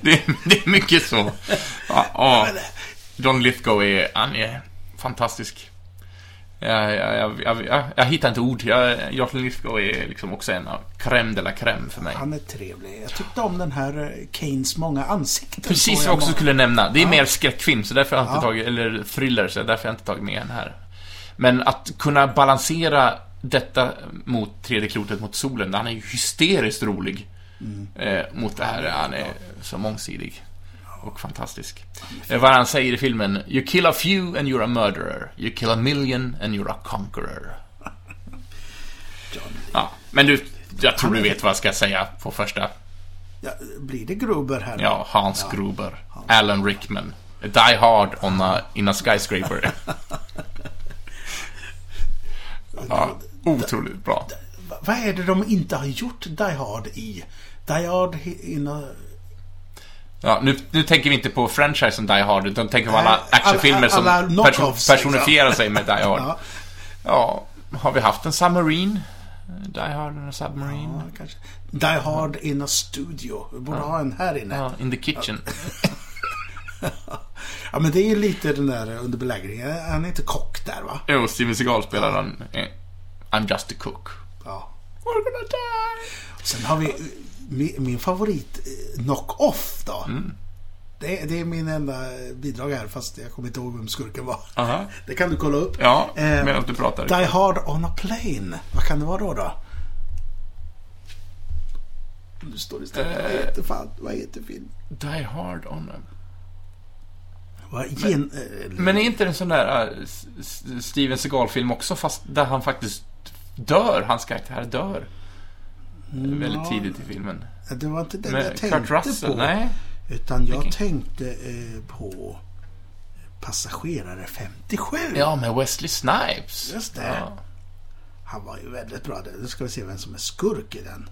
Speaker 1: det, är, det är mycket så. Ja, ja. John Lithgow är, han är fantastisk. Jag, jag, jag, jag, jag, jag hittar inte ord. Jag, John Lithgow är liksom också en av crème de la crème för mig.
Speaker 2: Han är trevlig. Jag tyckte om den här eh, Keynes många ansikten.
Speaker 1: Precis
Speaker 2: såg
Speaker 1: vad jag också
Speaker 2: många-
Speaker 1: skulle nämna. Det är mer skräckfilm, så därför har jag inte
Speaker 2: Ja.
Speaker 1: tagit, eller thriller, så därför har jag inte tagit med den här. Men att kunna balansera detta mot tredje klotet mot solen, han är ju hysteriskt rolig. Eh, mot det här, han är så mångsidig. Och fantastisk. Eh, vad han säger i filmen, You kill a few and you're a murderer. You kill a million and you're a conqueror. Ja, men du, jag tror du vet vad jag ska säga på första
Speaker 2: Ja, blir det Gruber här?
Speaker 1: Ja, Hans Gruber. Alan Rickman. Die Hard on a, in a skyscraper. ja, otroligt bra.
Speaker 2: Va- Vad är det de inte har gjort Die Hard i? Die Hard he- in a...
Speaker 1: Ja, nu, nu tänker vi inte på franchisen Die Hard, utan tänker på alla
Speaker 2: Nej,
Speaker 1: actionfilmer
Speaker 2: alla-
Speaker 1: som
Speaker 2: alla
Speaker 1: perso-
Speaker 2: knockoffs, liksom.
Speaker 1: personifierar sig med Die Hard.
Speaker 2: Ja,
Speaker 1: Ja, har vi haft en Submarine? Die Hard and a Submarine?
Speaker 2: ja, kanske. Die Hard in a Studio. Vi borde ha en här inne.
Speaker 1: Ja, in the Kitchen.
Speaker 2: Ja, men det är ju lite den där under belägringen. Han är inte kock där, va?
Speaker 1: Jo, Steven Seagal spelar den. eh, I'm just a cook.
Speaker 2: Ja.
Speaker 1: We're gonna die!
Speaker 2: Sen har vi eh, min, min favorit eh, Knock-Off då. Det, det är min enda eh, bidrag här fast jag kommer inte ihåg vem skurken var.
Speaker 1: Aha.
Speaker 2: Det kan du kolla upp.
Speaker 1: Ja,
Speaker 2: Eh,
Speaker 1: medan du pratar.
Speaker 2: Die Hard on a Plane. Vad kan det vara då? då? Nu står det istället. Vad heter fan? Vad heter film?
Speaker 1: Die Hard on a...
Speaker 2: Vad, gen, eh,
Speaker 1: Men är inte det en sån där äh, S- S- Steven Seagal-film också, fast där han faktiskt dör, hans karaktär dör? Väldigt tidigt i filmen.
Speaker 2: eh, det var inte den jag
Speaker 1: Med
Speaker 2: tänkte
Speaker 1: Kurt Russell,
Speaker 2: på.
Speaker 1: nej.
Speaker 2: Utan jag
Speaker 1: Vilken-
Speaker 2: tänkte eh, på Passagerare 57.
Speaker 1: Ja, med Wesley Snipes.
Speaker 2: Just det.
Speaker 1: Ja.
Speaker 2: Han var ju väldigt bra där. Nu ska vi se vem som är skurk i den.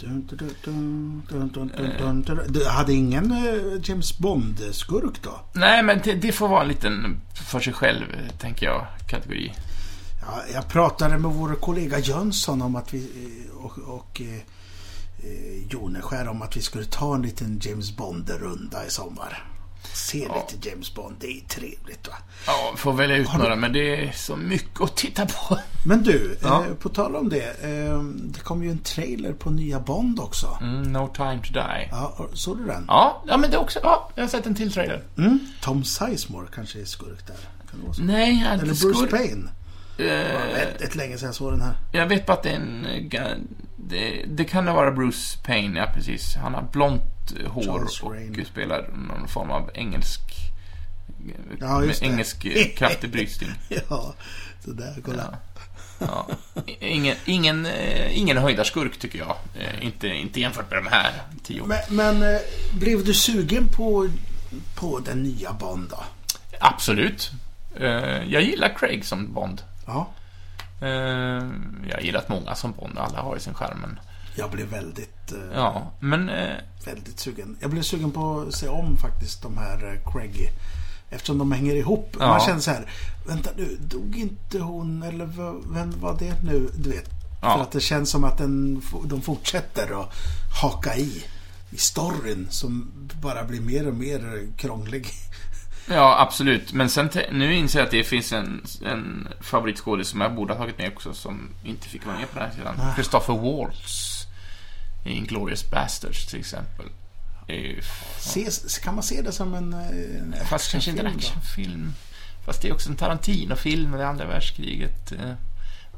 Speaker 2: Dun, dun, dun, dun, dun, dun,
Speaker 1: Eh.
Speaker 2: dun, dun, dun. Du hade ingen eh, James Bond-skurk då?
Speaker 1: Nej, men det, det får vara en liten för sig själv, eh, tänker jag, kategori.
Speaker 2: Ja, jag pratade med vår kollega Jönsson om att vi, eh, och, och eh, eh, Joneskär om att vi skulle ta en liten James Bond-runda i sommar. Se lite James Bond, det är trevligt va.
Speaker 1: Ja, får välja ut några, men det är så mycket att titta på.
Speaker 2: Men du,
Speaker 1: Ja.
Speaker 2: eh, på tal om det. Eh, det kom ju en trailer på nya Bond också.
Speaker 1: Mm, no time to die.
Speaker 2: Ja, och- såg du den? Mm.
Speaker 1: Ja, ja men det är också... Ja, jag har sett en till trailer.
Speaker 2: Tom Sizemore kanske är skurk där. Kan det vara så?
Speaker 1: Nej, jag,
Speaker 2: Eller Bruce Payne.
Speaker 1: Mm. Eh,
Speaker 2: Ett, ett länge sedan jag såg den här.
Speaker 1: jag vet bara att det är en... eh, ga- Det, det kan ha varit Bruce Payne, ja precis. Han har blont eh, hår
Speaker 2: Charles
Speaker 1: och
Speaker 2: Rain.
Speaker 1: spelar någon form av engelsk... eh,
Speaker 2: Ja, just
Speaker 1: med
Speaker 2: det.
Speaker 1: engelsk eh, kraftig brytning.
Speaker 2: Ja, så där, kolla.
Speaker 1: Ja. Ingen, ingen, eh, ingen höjdarskurk tycker jag. Eh, Inte, inte jämfört med de här tio.
Speaker 2: Men, men eh, blev du sugen på, på den nya Bond då?
Speaker 1: Absolut. Eh, Jag gillar Craig som Bond.
Speaker 2: Ja.
Speaker 1: Eh, Jag har gillat många som Bond, alla har ju sin charm. Men,
Speaker 2: Jag blev väldigt, eh,
Speaker 1: ja, men eh,
Speaker 2: väldigt sugen. Jag blev sugen på att se om faktiskt de här eh, Craig. Eftersom de hänger ihop.
Speaker 1: Ja.
Speaker 2: Man känner så här. Vänta nu, dog inte hon eller v- vem var det nu? Du vet.
Speaker 1: Ja.
Speaker 2: För att det känns som att den, f- de fortsätter att haka i. I storyn som bara blir mer och mer krånglig.
Speaker 1: ja, absolut. Men sen te- nu inser jag att det finns en, en favoritskådis som jag borde ha tagit med också, som inte fick vara med på den här sidan.
Speaker 2: Ah.
Speaker 1: Christopher Waltz i Inglourious Basterds till exempel. Det är ju
Speaker 2: Ses, kan man se det som en... eh, en
Speaker 1: Fast kanske inte
Speaker 2: actionfilm
Speaker 1: en
Speaker 2: då?
Speaker 1: actionfilm. Fast det är också en Tarantino-film, det är andra världskriget. eh,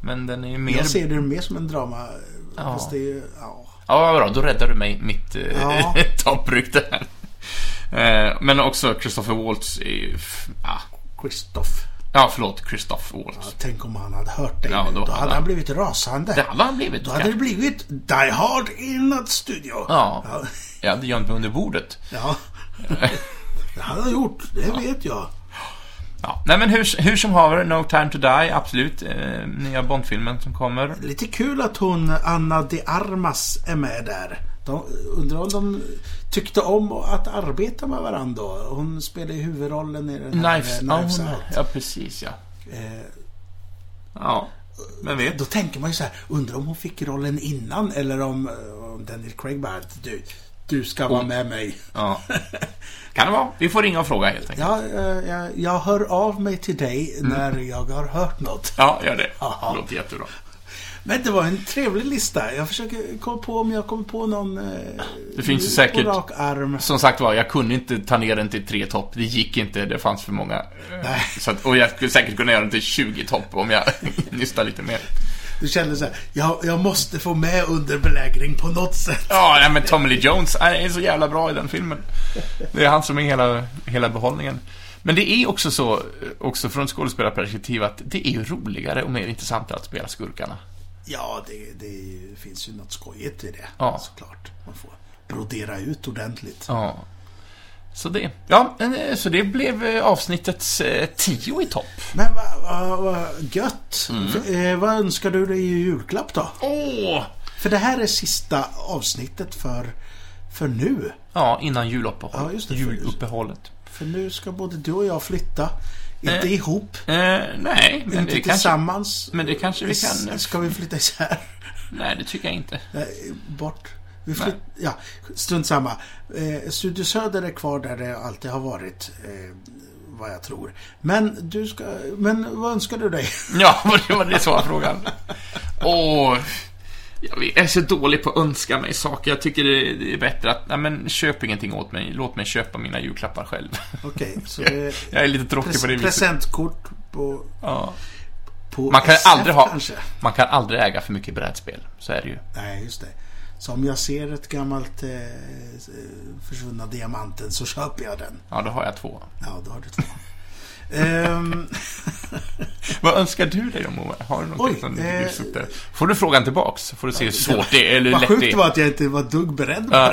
Speaker 1: Men den är ju mer...
Speaker 2: Jag ser det mer som en drama.
Speaker 1: Ja.
Speaker 2: Fast det är ju... Ja.
Speaker 1: Ja, vad bra. Då räddar du mig mitt eh,
Speaker 2: Ja.
Speaker 1: topprykte här. Eh, Men också Christopher Waltz är ju... f- ah,
Speaker 2: Christoph.
Speaker 1: Ja, förlåt. Christopher
Speaker 2: Ja,
Speaker 1: Waltz.
Speaker 2: tänk om han hade hört dig
Speaker 1: Ja,
Speaker 2: nu. Då
Speaker 1: då hade
Speaker 2: hade
Speaker 1: han-
Speaker 2: han blivit rasande.
Speaker 1: Det hade han blivit.
Speaker 2: Då hade det blivit Die Hard in that studio.
Speaker 1: Ja.
Speaker 2: Ja.
Speaker 1: Jag hade gömt mig under bordet.
Speaker 2: ja. det hade han gjort. Det vet jag.
Speaker 1: Ja. Nej, men hur, hur som haver, No Time To Die, absolut. Eh, nya Bond-filmen som kommer.
Speaker 2: Lite kul att hon Anna de Armas är med där. De, undrar om de tyckte om att arbeta med varandra då. Hon spelar ju huvudrollen i den här
Speaker 1: Knives,
Speaker 2: eh,
Speaker 1: ja,
Speaker 2: Knives
Speaker 1: hon-
Speaker 2: Out.
Speaker 1: Ja, precis ja.
Speaker 2: Eh,
Speaker 1: Ja, men vet.
Speaker 2: Då tänker man ju så här, undrar om hon fick rollen innan eller om, eh, om Daniel Craig bara, du, du ska vara med mig.
Speaker 1: Ja. Kan det vara. Vi får ringa och fråga helt enkelt.
Speaker 2: Ja, eh, jag, jag hör av mig till dig
Speaker 1: Mm.
Speaker 2: när jag har hört något.
Speaker 1: Ja, gör det.
Speaker 2: Aha.
Speaker 1: Det låter jättebra.
Speaker 2: Men det var en trevlig lista. Jag försöker komma på om jag kommer på någon eh,
Speaker 1: Det finns ju
Speaker 2: på
Speaker 1: säkert.
Speaker 2: rak arm.
Speaker 1: Som sagt var, jag kunde inte ta ner den till tre topp. Det gick inte, det fanns för många.
Speaker 2: Nej.
Speaker 1: Så att, och jag skulle säkert kunna göra den till 20 topp om jag nystar lite mer.
Speaker 2: Du känner så här, jag, jag måste få med underbelägring på något sätt.
Speaker 1: Ja, nej, men Tommy Lee Jones han är så jävla bra i den filmen. Det är han som är hela, hela behållningen. Men det är också så, också från ett skådespelarperspektiv, att det är ju roligare och mer intressant att spela skurkarna.
Speaker 2: Ja, det, det finns ju något skojigt i det.
Speaker 1: Ja.
Speaker 2: Såklart. Man får brodera ut ordentligt.
Speaker 1: Ja. Så det. Ja, eh, så det blev eh, avsnittets eh, tio i topp.
Speaker 2: Men vad va, va, gött!
Speaker 1: Mm.
Speaker 2: Eh, vad önskar du dig i julklapp då?
Speaker 1: Åh!
Speaker 2: För det här är sista avsnittet för, för nu.
Speaker 1: Ja, innan juluppehållet.
Speaker 2: Ja, just det.
Speaker 1: Juluppehållet.
Speaker 2: För nu ska både du och jag flytta. Inte
Speaker 1: Eh,
Speaker 2: ihop,
Speaker 1: Eh, nej,
Speaker 2: inte
Speaker 1: men det kanske...
Speaker 2: tillsammans.
Speaker 1: men det kanske vi
Speaker 2: S-
Speaker 1: kan-
Speaker 2: Ska vi flytta isär?
Speaker 1: Nej, det tycker jag inte.
Speaker 2: Nej, Bort. Vi flytt, ja, strunt samma. Eh, Studio Söder är kvar där det alltid har varit. Eh, vad jag tror. Men du ska... Men vad önskar du dig?
Speaker 1: Ja, vad det var det som var frågan. Åh, jag är så dålig på att önska mig saker. Jag tycker det det är bättre att, nej men köp ingenting åt mig. Låt mig köpa mina julklappar själv.
Speaker 2: Okej, så det är
Speaker 1: Jag är lite tråkig på det
Speaker 2: pres-
Speaker 1: viset.
Speaker 2: presentkort på,
Speaker 1: Ja.
Speaker 2: på
Speaker 1: Man kan
Speaker 2: SF
Speaker 1: aldrig ha-
Speaker 2: kanske?
Speaker 1: Man kan aldrig äga för mycket brädspel. Så är det ju.
Speaker 2: Nej, just det. Så om jag ser ett gammalt eh, eh, försvunna diamanten så köper jag den.
Speaker 1: Ja, då har jag två.
Speaker 2: Ja, då har du två. Ehm,
Speaker 1: Vad önskar du dig om Moa? Har du någonting
Speaker 2: Oj,
Speaker 1: som du
Speaker 2: eh,
Speaker 1: vill lyfta upp? Får du frågan tillbaks? Får du se hur svårt det är eller
Speaker 2: vad
Speaker 1: hur lätt
Speaker 2: sjukt
Speaker 1: det
Speaker 2: det
Speaker 1: är?
Speaker 2: var att jag inte var dugg beredd på
Speaker 1: Ja.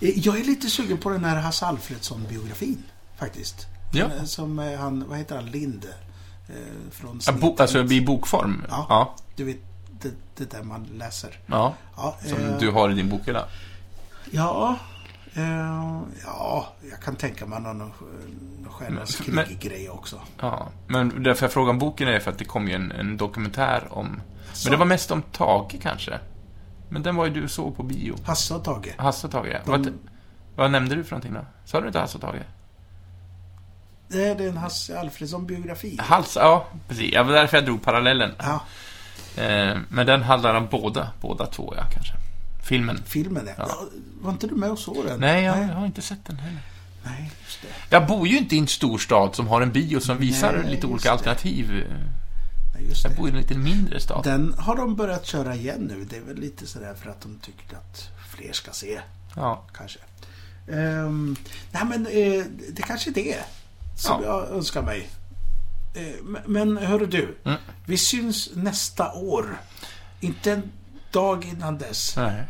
Speaker 2: det. jag är lite sugen på den här Hasse Alfredsson-biografin, faktiskt.
Speaker 1: Ja.
Speaker 2: Den, eh, Som eh, han, vad heter han, Lind? Eh, från
Speaker 1: Ja, bo,
Speaker 2: Snittet.
Speaker 1: alltså i bokform?
Speaker 2: Ja.
Speaker 1: Ja.
Speaker 2: Du vet, det, det där man läser.
Speaker 1: ja.
Speaker 2: Ja,
Speaker 1: Som
Speaker 2: eh,
Speaker 1: du har i din bokhylla?
Speaker 2: Ja, eh, ja, jag kan tänka mig någon eh, Stjärnornas
Speaker 1: Men- men-
Speaker 2: krig-grej också.
Speaker 1: Ja. Men därför jag frågar om boken är för att det kom ju en, en dokumentär om... Men det var mest om Tage kanske? Men den var ju du såg på bio.
Speaker 2: Hasse och Tage. Mm.
Speaker 1: Hasse och Tage, ja. Vad-
Speaker 2: De,
Speaker 1: Vad nämnde du för någonting då? Sa du inte Hasse och Tage?
Speaker 2: Nej, det är en Hasse Alfredson-biografi.
Speaker 1: Hals, ja, precis. Ja, Det var därför jag drog parallellen.
Speaker 2: Ja,
Speaker 1: Eh, men den handlar om båda, båda två, ja, kanske. Filmen.
Speaker 2: filmen är. Ja. Var inte du med och såg den?
Speaker 1: Nej, jag,
Speaker 2: Nej,
Speaker 1: jag har inte sett den heller.
Speaker 2: nej, just det.
Speaker 1: Jag bor ju inte i en stor stad som har en bio som visar
Speaker 2: Nej,
Speaker 1: lite
Speaker 2: just
Speaker 1: olika
Speaker 2: det.
Speaker 1: alternativ.
Speaker 2: Nej, just
Speaker 1: Jag
Speaker 2: det.
Speaker 1: bor i en lite mindre stad.
Speaker 2: Den har de börjat köra igen nu. Det är väl lite sådär för att de tycker att fler ska se,
Speaker 1: Ja.
Speaker 2: kanske. Ehm, nej, men eh, det kanske är det som
Speaker 1: Ja.
Speaker 2: jag önskar mig. Eh, m- men hörru du,
Speaker 1: Mm.
Speaker 2: vi syns nästa år. Inte en dag innan dess.
Speaker 1: Nej.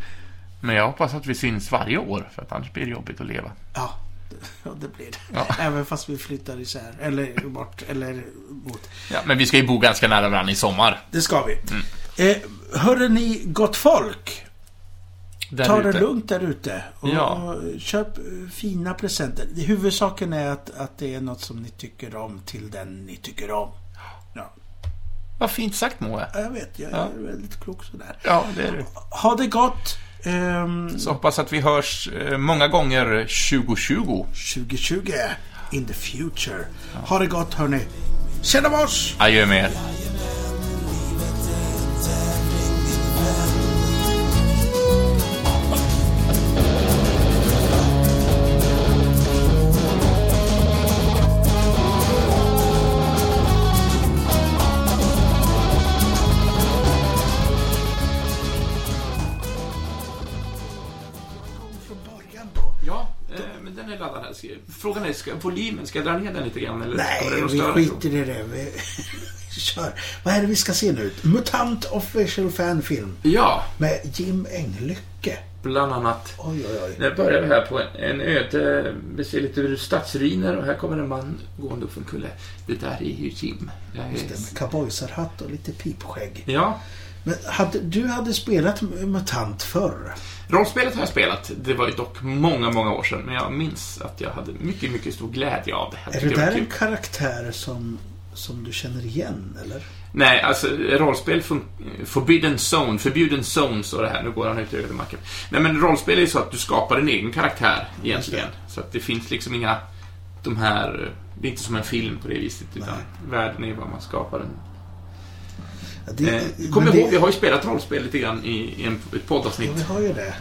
Speaker 1: Men jag hoppas att vi syns varje år, för att annars blir det jobbigt att leva.
Speaker 2: Ja, det- ja det blir det.
Speaker 1: Ja.
Speaker 2: Även fast vi flyttar isär, eller bort, eller mot.
Speaker 1: Ja, men vi ska ju bo ganska nära varandra i sommar.
Speaker 2: Det ska vi.
Speaker 1: Mm.
Speaker 2: Eh, hörru ni, gott folk.
Speaker 1: Där
Speaker 2: Ta
Speaker 1: ute.
Speaker 2: det lugnt där ute. Och,
Speaker 1: Ja.
Speaker 2: och köp eh, fina presenter. Huvudsaken är att, att det är något som ni tycker om till den ni tycker om. Ja,
Speaker 1: Vad fint sagt, Moe.
Speaker 2: jag vet. Jag
Speaker 1: Ja.
Speaker 2: är väldigt klok sådär.
Speaker 1: Ja, det är du.
Speaker 2: Ha det gott! Ehm,
Speaker 1: Så hoppas att vi hörs eh, många gånger 2020.
Speaker 2: 2020 in the future. Ha det gott hörni. Tjena mors!
Speaker 1: Adjö med er.
Speaker 2: Från början då.
Speaker 1: Ja, eh, men den är laddad här. Frågan är, ska, volymen, ska jag dra ner den lite grann? Eller
Speaker 2: Nej, vi skiter i det. Vi kör. Vad är det vi ska se nu? Mutant Official Fanfilm
Speaker 1: Ja,
Speaker 2: med Jim Englycke.
Speaker 1: bland annat.
Speaker 2: Oj, oj, oj.
Speaker 1: Nu börjar vi här på en, en öde, vi ser lite stadsruiner och här kommer en man gående upp för en kulle. Det där är ju Jim. Jag är...
Speaker 2: Det med cowboysarhatt och lite pipskägg.
Speaker 1: Ja,
Speaker 2: Men hade, du hade spelat MUTANT förr.
Speaker 1: rollspelet har jag spelat. Det var ju dock många, många år sedan, men jag minns att jag hade mycket, mycket stor glädje av det. Jag
Speaker 2: Är
Speaker 1: tyckte
Speaker 2: det
Speaker 1: var
Speaker 2: där
Speaker 1: kul.
Speaker 2: en karaktär som, som du känner igen, eller?
Speaker 1: Nej, alltså rollspel fun- Forbidden Zone, Förbjuden Zone står det här. Nu går han ut över macken. Nej, men rollspel är ju så att du skapar din egen karaktär egentligen. Så att det finns liksom inga de här... Det är inte som en film på det viset, utan världen är vad man skapar den.
Speaker 2: Ja, det-
Speaker 1: Eh, kom
Speaker 2: men
Speaker 1: ihåg,
Speaker 2: det-
Speaker 1: vi har ju spelat rollspel lite grann i, i en, ett
Speaker 2: Ja, vi
Speaker 1: poddavsnitt.
Speaker 2: har ju det.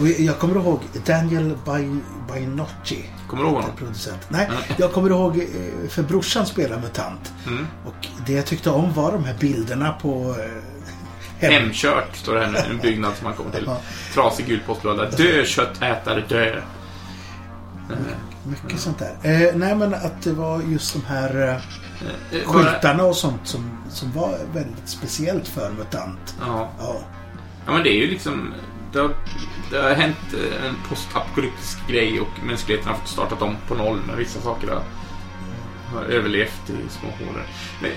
Speaker 2: Och jag- jag kommer ihåg Daniel Bai- Bainochi.
Speaker 1: Kommer du ihåg
Speaker 2: Inte
Speaker 1: honom?
Speaker 2: producent. Nej, jag kommer ihåg eh, för brorsan spelade MUTANT. Och det jag tyckte om var de här bilderna på eh, hem.
Speaker 1: Hemkört, står det här nu. En byggnad som man kommer till.
Speaker 2: Ja.
Speaker 1: Trasig gul postlåda. Dö, köttätare, dö.
Speaker 2: Mycket sånt där. Eh, nej, men att det var just de här eh,
Speaker 1: Eh, bara-
Speaker 2: skyltarna och sånt som, som var väldigt speciellt för MUTANT.
Speaker 1: Ja.
Speaker 2: Ja,
Speaker 1: Ja men det är ju liksom Det har, det har hänt eh, en postapokalyptisk grej och mänskligheten har fått startat om på noll men vissa saker har, har överlevt i små hålor. Men, eh,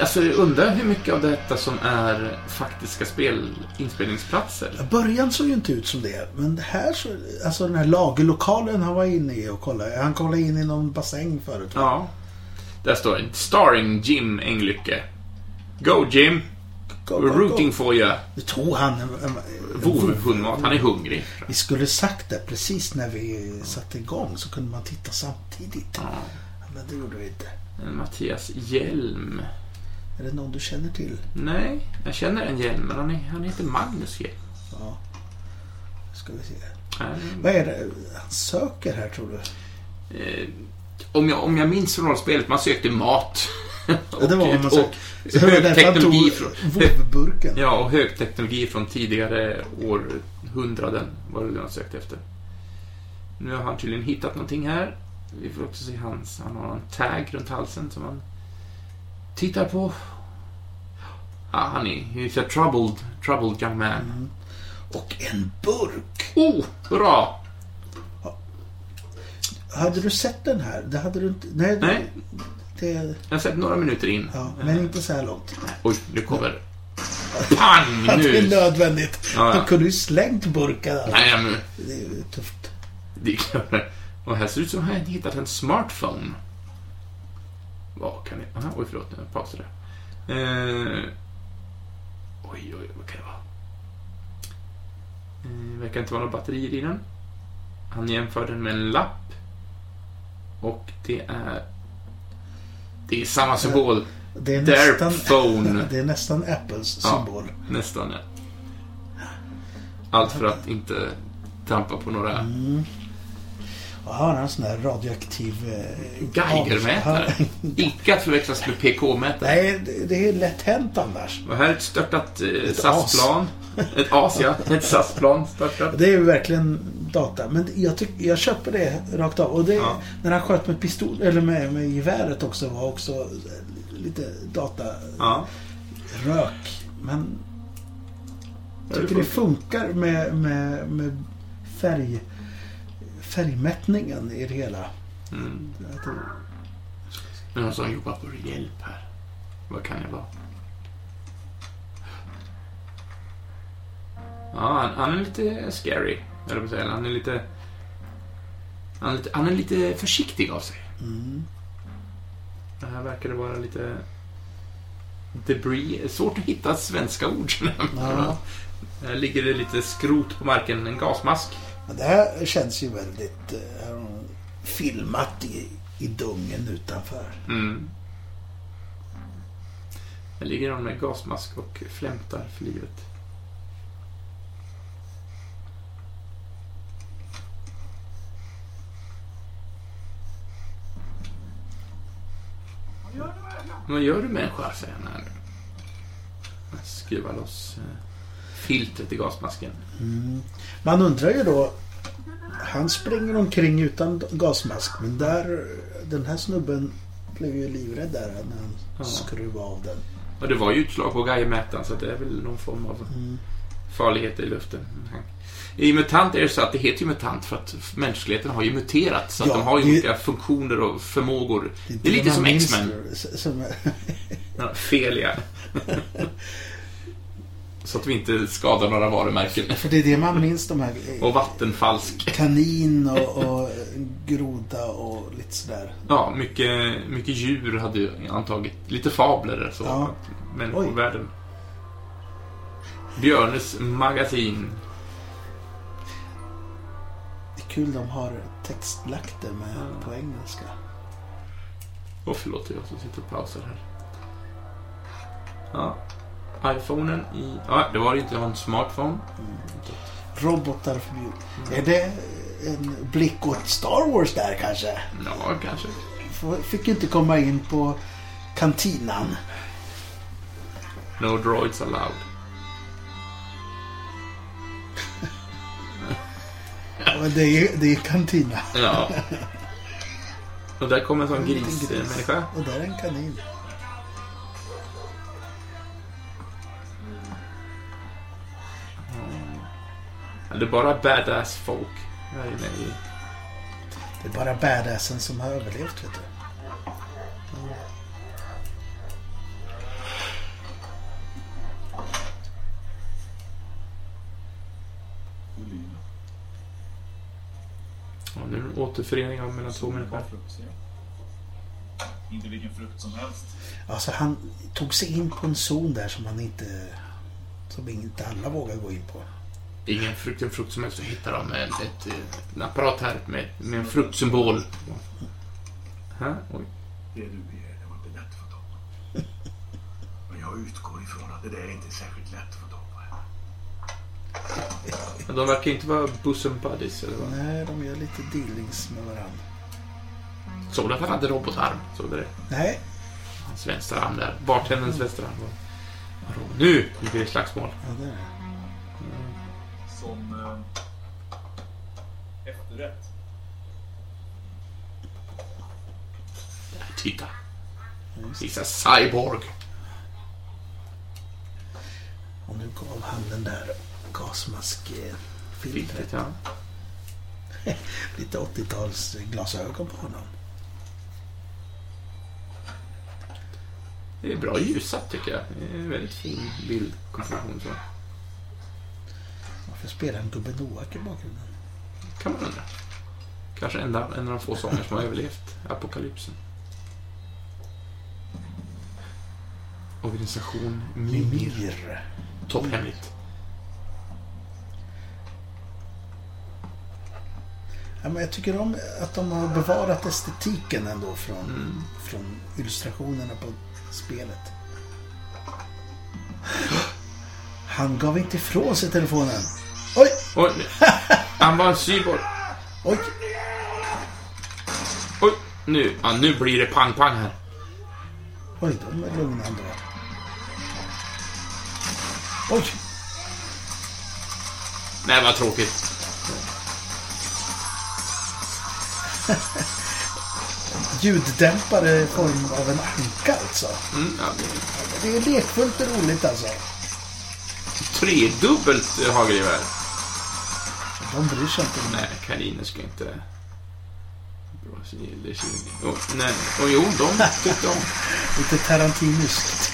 Speaker 1: alltså jag undrar hur mycket av detta som är faktiska spel, inspelningsplatser.
Speaker 2: början såg ju inte ut som det. Men det här så, alltså den här lagerlokalen han var inne i och kollade. Han kollade in i någon bassäng förut. va?
Speaker 1: Ja. Där står det. Starring Jim Englycke. Go Jim!
Speaker 2: Go, go,
Speaker 1: We're
Speaker 2: go.
Speaker 1: rooting for you.
Speaker 2: Nu tog han en, en, en
Speaker 1: Vovhundmat. Han är hungrig.
Speaker 2: Vi skulle sagt det precis när vi satte igång så kunde man titta samtidigt. Men det gjorde vi inte.
Speaker 1: Ah, Mattias Hjelm.
Speaker 2: Är det någon du känner till?
Speaker 1: Nej, jag känner en Hjelm men han, är, han heter Magnus Hjelm.
Speaker 2: Ja. Ska vi se.
Speaker 1: Nej,
Speaker 2: Vad är det han söker här tror du?
Speaker 1: Eh, om, jag, om jag minns från rollspelet, man sökte mat.
Speaker 2: Ja, det var vad man sökte.
Speaker 1: och högteknologi från,
Speaker 2: vovburken.
Speaker 1: ja, och högteknologi från tidigare århundraden var det man sökte efter. Nu har han tydligen hittat någonting här. Vi får också se hans. Han har en tag runt halsen som han tittar på. Ah, han är he's a troubled, troubled young man.
Speaker 2: Och en burk!
Speaker 1: Oh, bra!
Speaker 2: Hade du sett den här? Det hade du inte. Nej. du-
Speaker 1: Nej.
Speaker 2: Det,
Speaker 1: Jag har sett några minuter in.
Speaker 2: ja, men inte så här långt.
Speaker 1: Oj, nu kommer... Pang!
Speaker 2: Det är
Speaker 1: Nu!
Speaker 2: nödvändigt.
Speaker 1: Ja, ja.
Speaker 2: De kunde ju slängt burkar. där.
Speaker 1: Nej, men...
Speaker 2: Det är ju tufft.
Speaker 1: Det är klart. Och här ser det ut som att han hittat en smartphone. Vad kan det... Aha, oj, förlåt. Jag pausade. Eh, oj, oj, vad kan det vara? Eh, verkar inte vara några batterier i den. Han jämför den med en lapp. Och det är... Det är samma symbol.
Speaker 5: Det är
Speaker 1: Their
Speaker 5: nästan,
Speaker 1: phone.
Speaker 5: det är nästan Apples
Speaker 1: Ja,
Speaker 5: symbol.
Speaker 1: nästan ja. Allt för att inte trampa på några...
Speaker 5: Och här har han en sån här radioaktiv... Eh,
Speaker 1: Geigermätare.
Speaker 5: avfall.
Speaker 1: Icke att förväxlas med PK-mätare.
Speaker 5: Nej, det- det är lätt hänt annars.
Speaker 1: Och här är ett störtat eh,
Speaker 5: Ett
Speaker 1: SAS-plan. Ett as, ja. Ett SAS-plan störtat.
Speaker 5: Det är ju verkligen data. Men jag, tyck, jag köper det rakt av. Och det,
Speaker 1: Ja.
Speaker 5: när han sköt med pistol, eller med, med geväret också, var också lite datarök.
Speaker 1: Ja.
Speaker 5: Men
Speaker 1: Ja,
Speaker 5: jag
Speaker 1: det
Speaker 5: tycker det funkar med, med, med färg, färgmättningen i det hela.
Speaker 1: Mm.
Speaker 5: Att det-
Speaker 1: Det är någon som jobbar på hjälp här. Vad kan det vara? Ja, han, han är lite scary, eller vad säger jag? Han är lite... Han är lite, han är lite försiktig av sig.
Speaker 5: Mm.
Speaker 1: Det här verkar det vara lite... Debris. Svårt att hitta svenska ord.
Speaker 5: Ja.
Speaker 1: Här ligger det lite skrot på marken, en gasmask.
Speaker 5: Men det här känns ju väldigt eh, här har de filmat i, i dungen utanför.
Speaker 1: Mm. Här ligger de med gasmask och flämtar för livet. Vad gör du människa? säger han här. Han skruvar loss eh, filtret i gasmasken.
Speaker 5: Man undrar ju då, han springer omkring utan gasmask, men där, den här snubben blev ju livrädd där när han
Speaker 1: Ja.
Speaker 5: skruvade av den.
Speaker 1: Och det var ju utslag på geigermätaren så det är väl någon form av
Speaker 5: Mm.
Speaker 1: farlighet i luften. I MUTANT är det så att det heter ju MUTANT för att mänskligheten har ju muterat så att
Speaker 5: Ja,
Speaker 1: de har ju
Speaker 5: det-
Speaker 1: olika funktioner och förmågor. Det är, lite
Speaker 5: man
Speaker 1: som
Speaker 5: minns
Speaker 1: X-Men.
Speaker 5: det, s- Som,
Speaker 1: Ja, fel ja. så att vi inte skadar några varumärken.
Speaker 5: för det är det man minns de här. eh,
Speaker 1: Och vattenfalsk.
Speaker 5: Kanin och, och eh, groda och lite sådär.
Speaker 1: Ja, mycket, mycket djur hade ju antagit. Lite fabler och så.
Speaker 5: Ja.
Speaker 1: Människovärlden. Björnes magasin.
Speaker 5: Det är kul de har textlagt det med,
Speaker 1: Ja.
Speaker 5: på engelska.
Speaker 1: Åh, förlåt, det är jag som sitter och pausar här. Ja. Iphonen i... Ja, det var ju inte. Jag har en smartphone.
Speaker 5: Robotar förbjudna. Är det en blick åt Star Wars där kanske?
Speaker 1: Ja, kanske.
Speaker 5: F- Fick ju inte komma in på kantinan.
Speaker 1: No droids allowed.
Speaker 5: Men Det är ju det är kantina.
Speaker 1: Ja. Och där kom en sån grismänniska.
Speaker 5: Och där är en kanin.
Speaker 1: Ja, det är bara badass folk här inne i...
Speaker 5: Det är bara badassen som har överlevt vet du.
Speaker 1: Ja, nu är det en återförening av mellan två människor.
Speaker 6: Inte vilken frukt som helst.
Speaker 5: Alltså han tog sig in på en zon där som han inte... Som inte alla vågar gå in på.
Speaker 1: Ingen frukt, en frukt som helst. Så hittar de en, ett, eh, en apparat här med, med en fruktsymbol. Här? Oj.
Speaker 6: Det du begär, det var inte lätt att få tag på. Men jag utgår ifrån att det där inte är särskilt lätt att få tag på.
Speaker 1: Men De verkar inte vara bosom buddies, eller vad?
Speaker 5: Nej, de gör lite dealings med varandra.
Speaker 1: Såg du att han hade robotarm? Såg du det?
Speaker 5: Nej,
Speaker 1: Hans vänstra arm där. Bartenderns vänstra arm. var- var rå. Nu Nu blir det slagsmål.
Speaker 5: ja, det är det.
Speaker 6: Som eh, efterrätt.
Speaker 1: Där, titta. Vissa cyborg.
Speaker 5: Och nu gav han den där gasmaskfiltret.
Speaker 1: Filtret, ja.
Speaker 5: Lite 80-tals glasögon på honom.
Speaker 1: Det är bra ljusat tycker jag. Det är en väldigt fin bildkomposition. Så.
Speaker 5: Varför spelar han gubben Noak i bakgrunden?
Speaker 1: kan man undra. Kanske en av, en av de få sånger som har överlevt apokalypsen. Organisation Mimir.
Speaker 5: Mimir.
Speaker 1: Topphemligt.
Speaker 5: Ja, men jag tycker om att de har bevarat estetiken ändå från, från illustrationerna på spelet. Han gav inte ifrån sig telefonen. Oj!
Speaker 1: Oj, nu. han var en cyborg.
Speaker 5: Oj!
Speaker 1: Oj, nu. Ja, nu blir det pang-pang här.
Speaker 5: Oj, de är lugna ändå. Oj!
Speaker 1: Nej, vad tråkigt.
Speaker 5: Ljuddämpare i form av en anka alltså.
Speaker 1: Mm, ja,
Speaker 5: Det är lekfullt och roligt alltså.
Speaker 1: tredubbelt eh, hagelgevär.
Speaker 5: De bryr sig inte.
Speaker 1: Nej, kaniner ska inte... Bra, så gillar det tjugo. Jo, nej. Och jo, de tyckte om.
Speaker 5: Lite tarantiniskt.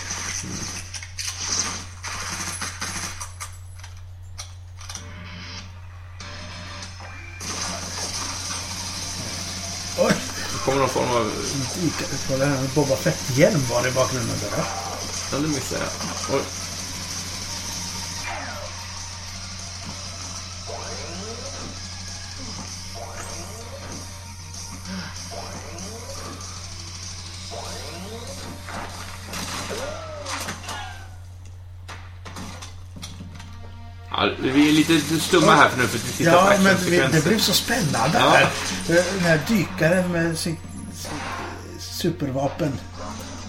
Speaker 5: Oj,
Speaker 1: Det kommer någon form av...
Speaker 5: dyka upp på det här med Boba Fett-hjälm var det i bakgrunden där va?
Speaker 1: Ja, det missade jag. Oj. Ja, vi är lite stumma här för nu för att vi tittar på
Speaker 5: Ja, men vi,
Speaker 1: actionsekvenser.
Speaker 5: det blev så spännande
Speaker 1: Ja.
Speaker 5: här. Eh, Den här dykaren med sitt sitt supervapen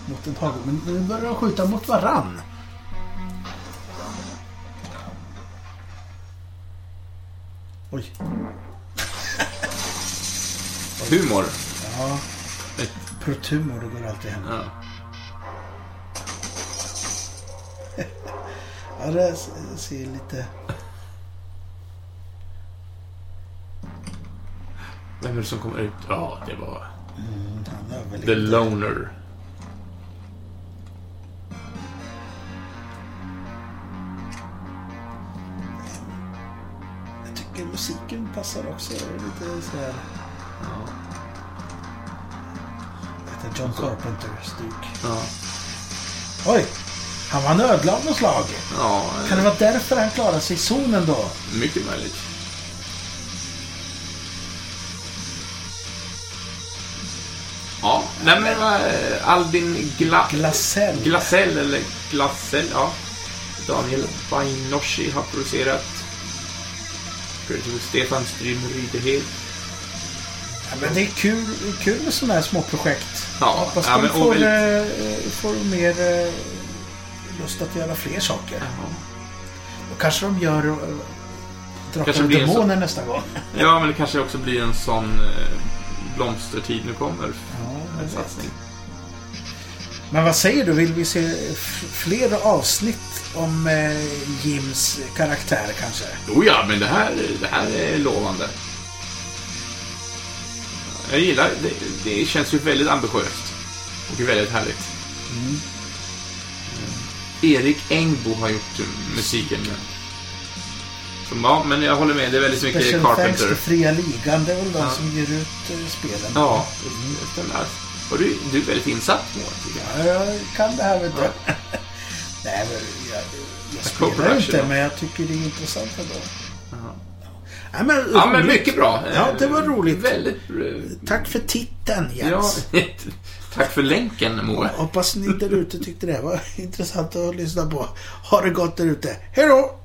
Speaker 5: mot en hagel. Men nu börjar de skjuta mot varann. Oj.
Speaker 1: Humor.
Speaker 5: Ja. Protumor, det går alltid hem.
Speaker 1: Ja.
Speaker 5: Ja, det s- ser lite...
Speaker 1: Vem är det som kommer ut? Ja, det var...
Speaker 5: Han
Speaker 1: The
Speaker 5: överlevde.
Speaker 1: Loner.
Speaker 5: Jag tycker musiken passar också. Det är lite sådär... Ja. John Carpenter-stuk.
Speaker 1: Ja.
Speaker 5: Oj! Han var nödlad och slag.
Speaker 1: Ja,
Speaker 5: Kan det vara därför han klarade sig i zonen då?
Speaker 1: mycket möjligt. Ja, nej men eh, Albin Gla...
Speaker 5: Glasell.
Speaker 1: Glasell eller Glasell, ja. Daniel Bainoshi har producerat. Creative Stefan Strym Rydehed.
Speaker 5: ja, men det är kul, det är kul med sådana här små projekt.
Speaker 1: Ja,
Speaker 5: Hoppas
Speaker 1: ja,
Speaker 5: de
Speaker 1: men och
Speaker 5: får,
Speaker 1: väl-
Speaker 5: eh, får mer eh, lust att göra fler saker. Och kanske de gör eh,
Speaker 1: Kanske
Speaker 5: Drakar
Speaker 1: det
Speaker 5: och
Speaker 1: blir en så-
Speaker 5: Demoner nästa gång.
Speaker 1: Ja, men det kanske också blir en sån eh, blomstertid nu kommer.
Speaker 5: jag
Speaker 1: En
Speaker 5: vet.
Speaker 1: satsning.
Speaker 5: Men vad säger du? Vill vi se f- fler avsnitt om eh, Jims karaktär kanske?
Speaker 1: Jo, ja, men det här, det här är lovande. Jag gillar det. Det känns ju väldigt ambitiöst. Och väldigt härligt. Mm. Erik Engbo har gjort musiken. Så, ja, men jag håller med. Det är väldigt mycket
Speaker 5: Special thanks till
Speaker 1: Carpenter.
Speaker 5: Fria Ligan. Det är väl de
Speaker 1: Ja.
Speaker 5: som ger ut eh, spelen.
Speaker 1: Ja, det stämmer. Och du, du är väldigt insatt, Moa, tycker jag.
Speaker 5: Ja, jag kan det här vet du. Nej, men jag, jag spelar
Speaker 1: Co-production,
Speaker 5: inte,
Speaker 1: då.
Speaker 5: men jag tycker det är intressant ändå. Ja, men,
Speaker 1: Ja, men
Speaker 5: roligt.
Speaker 1: mycket bra.
Speaker 5: Ja, det var roligt.
Speaker 1: Väldigt... eh,
Speaker 5: Tack för titeln,
Speaker 1: Ja,
Speaker 5: Jens.
Speaker 1: tack för länken, Moa.
Speaker 5: Hoppas ni där ute tyckte det här var intressant att lyssna på. Ha det gott där ute. Hej då!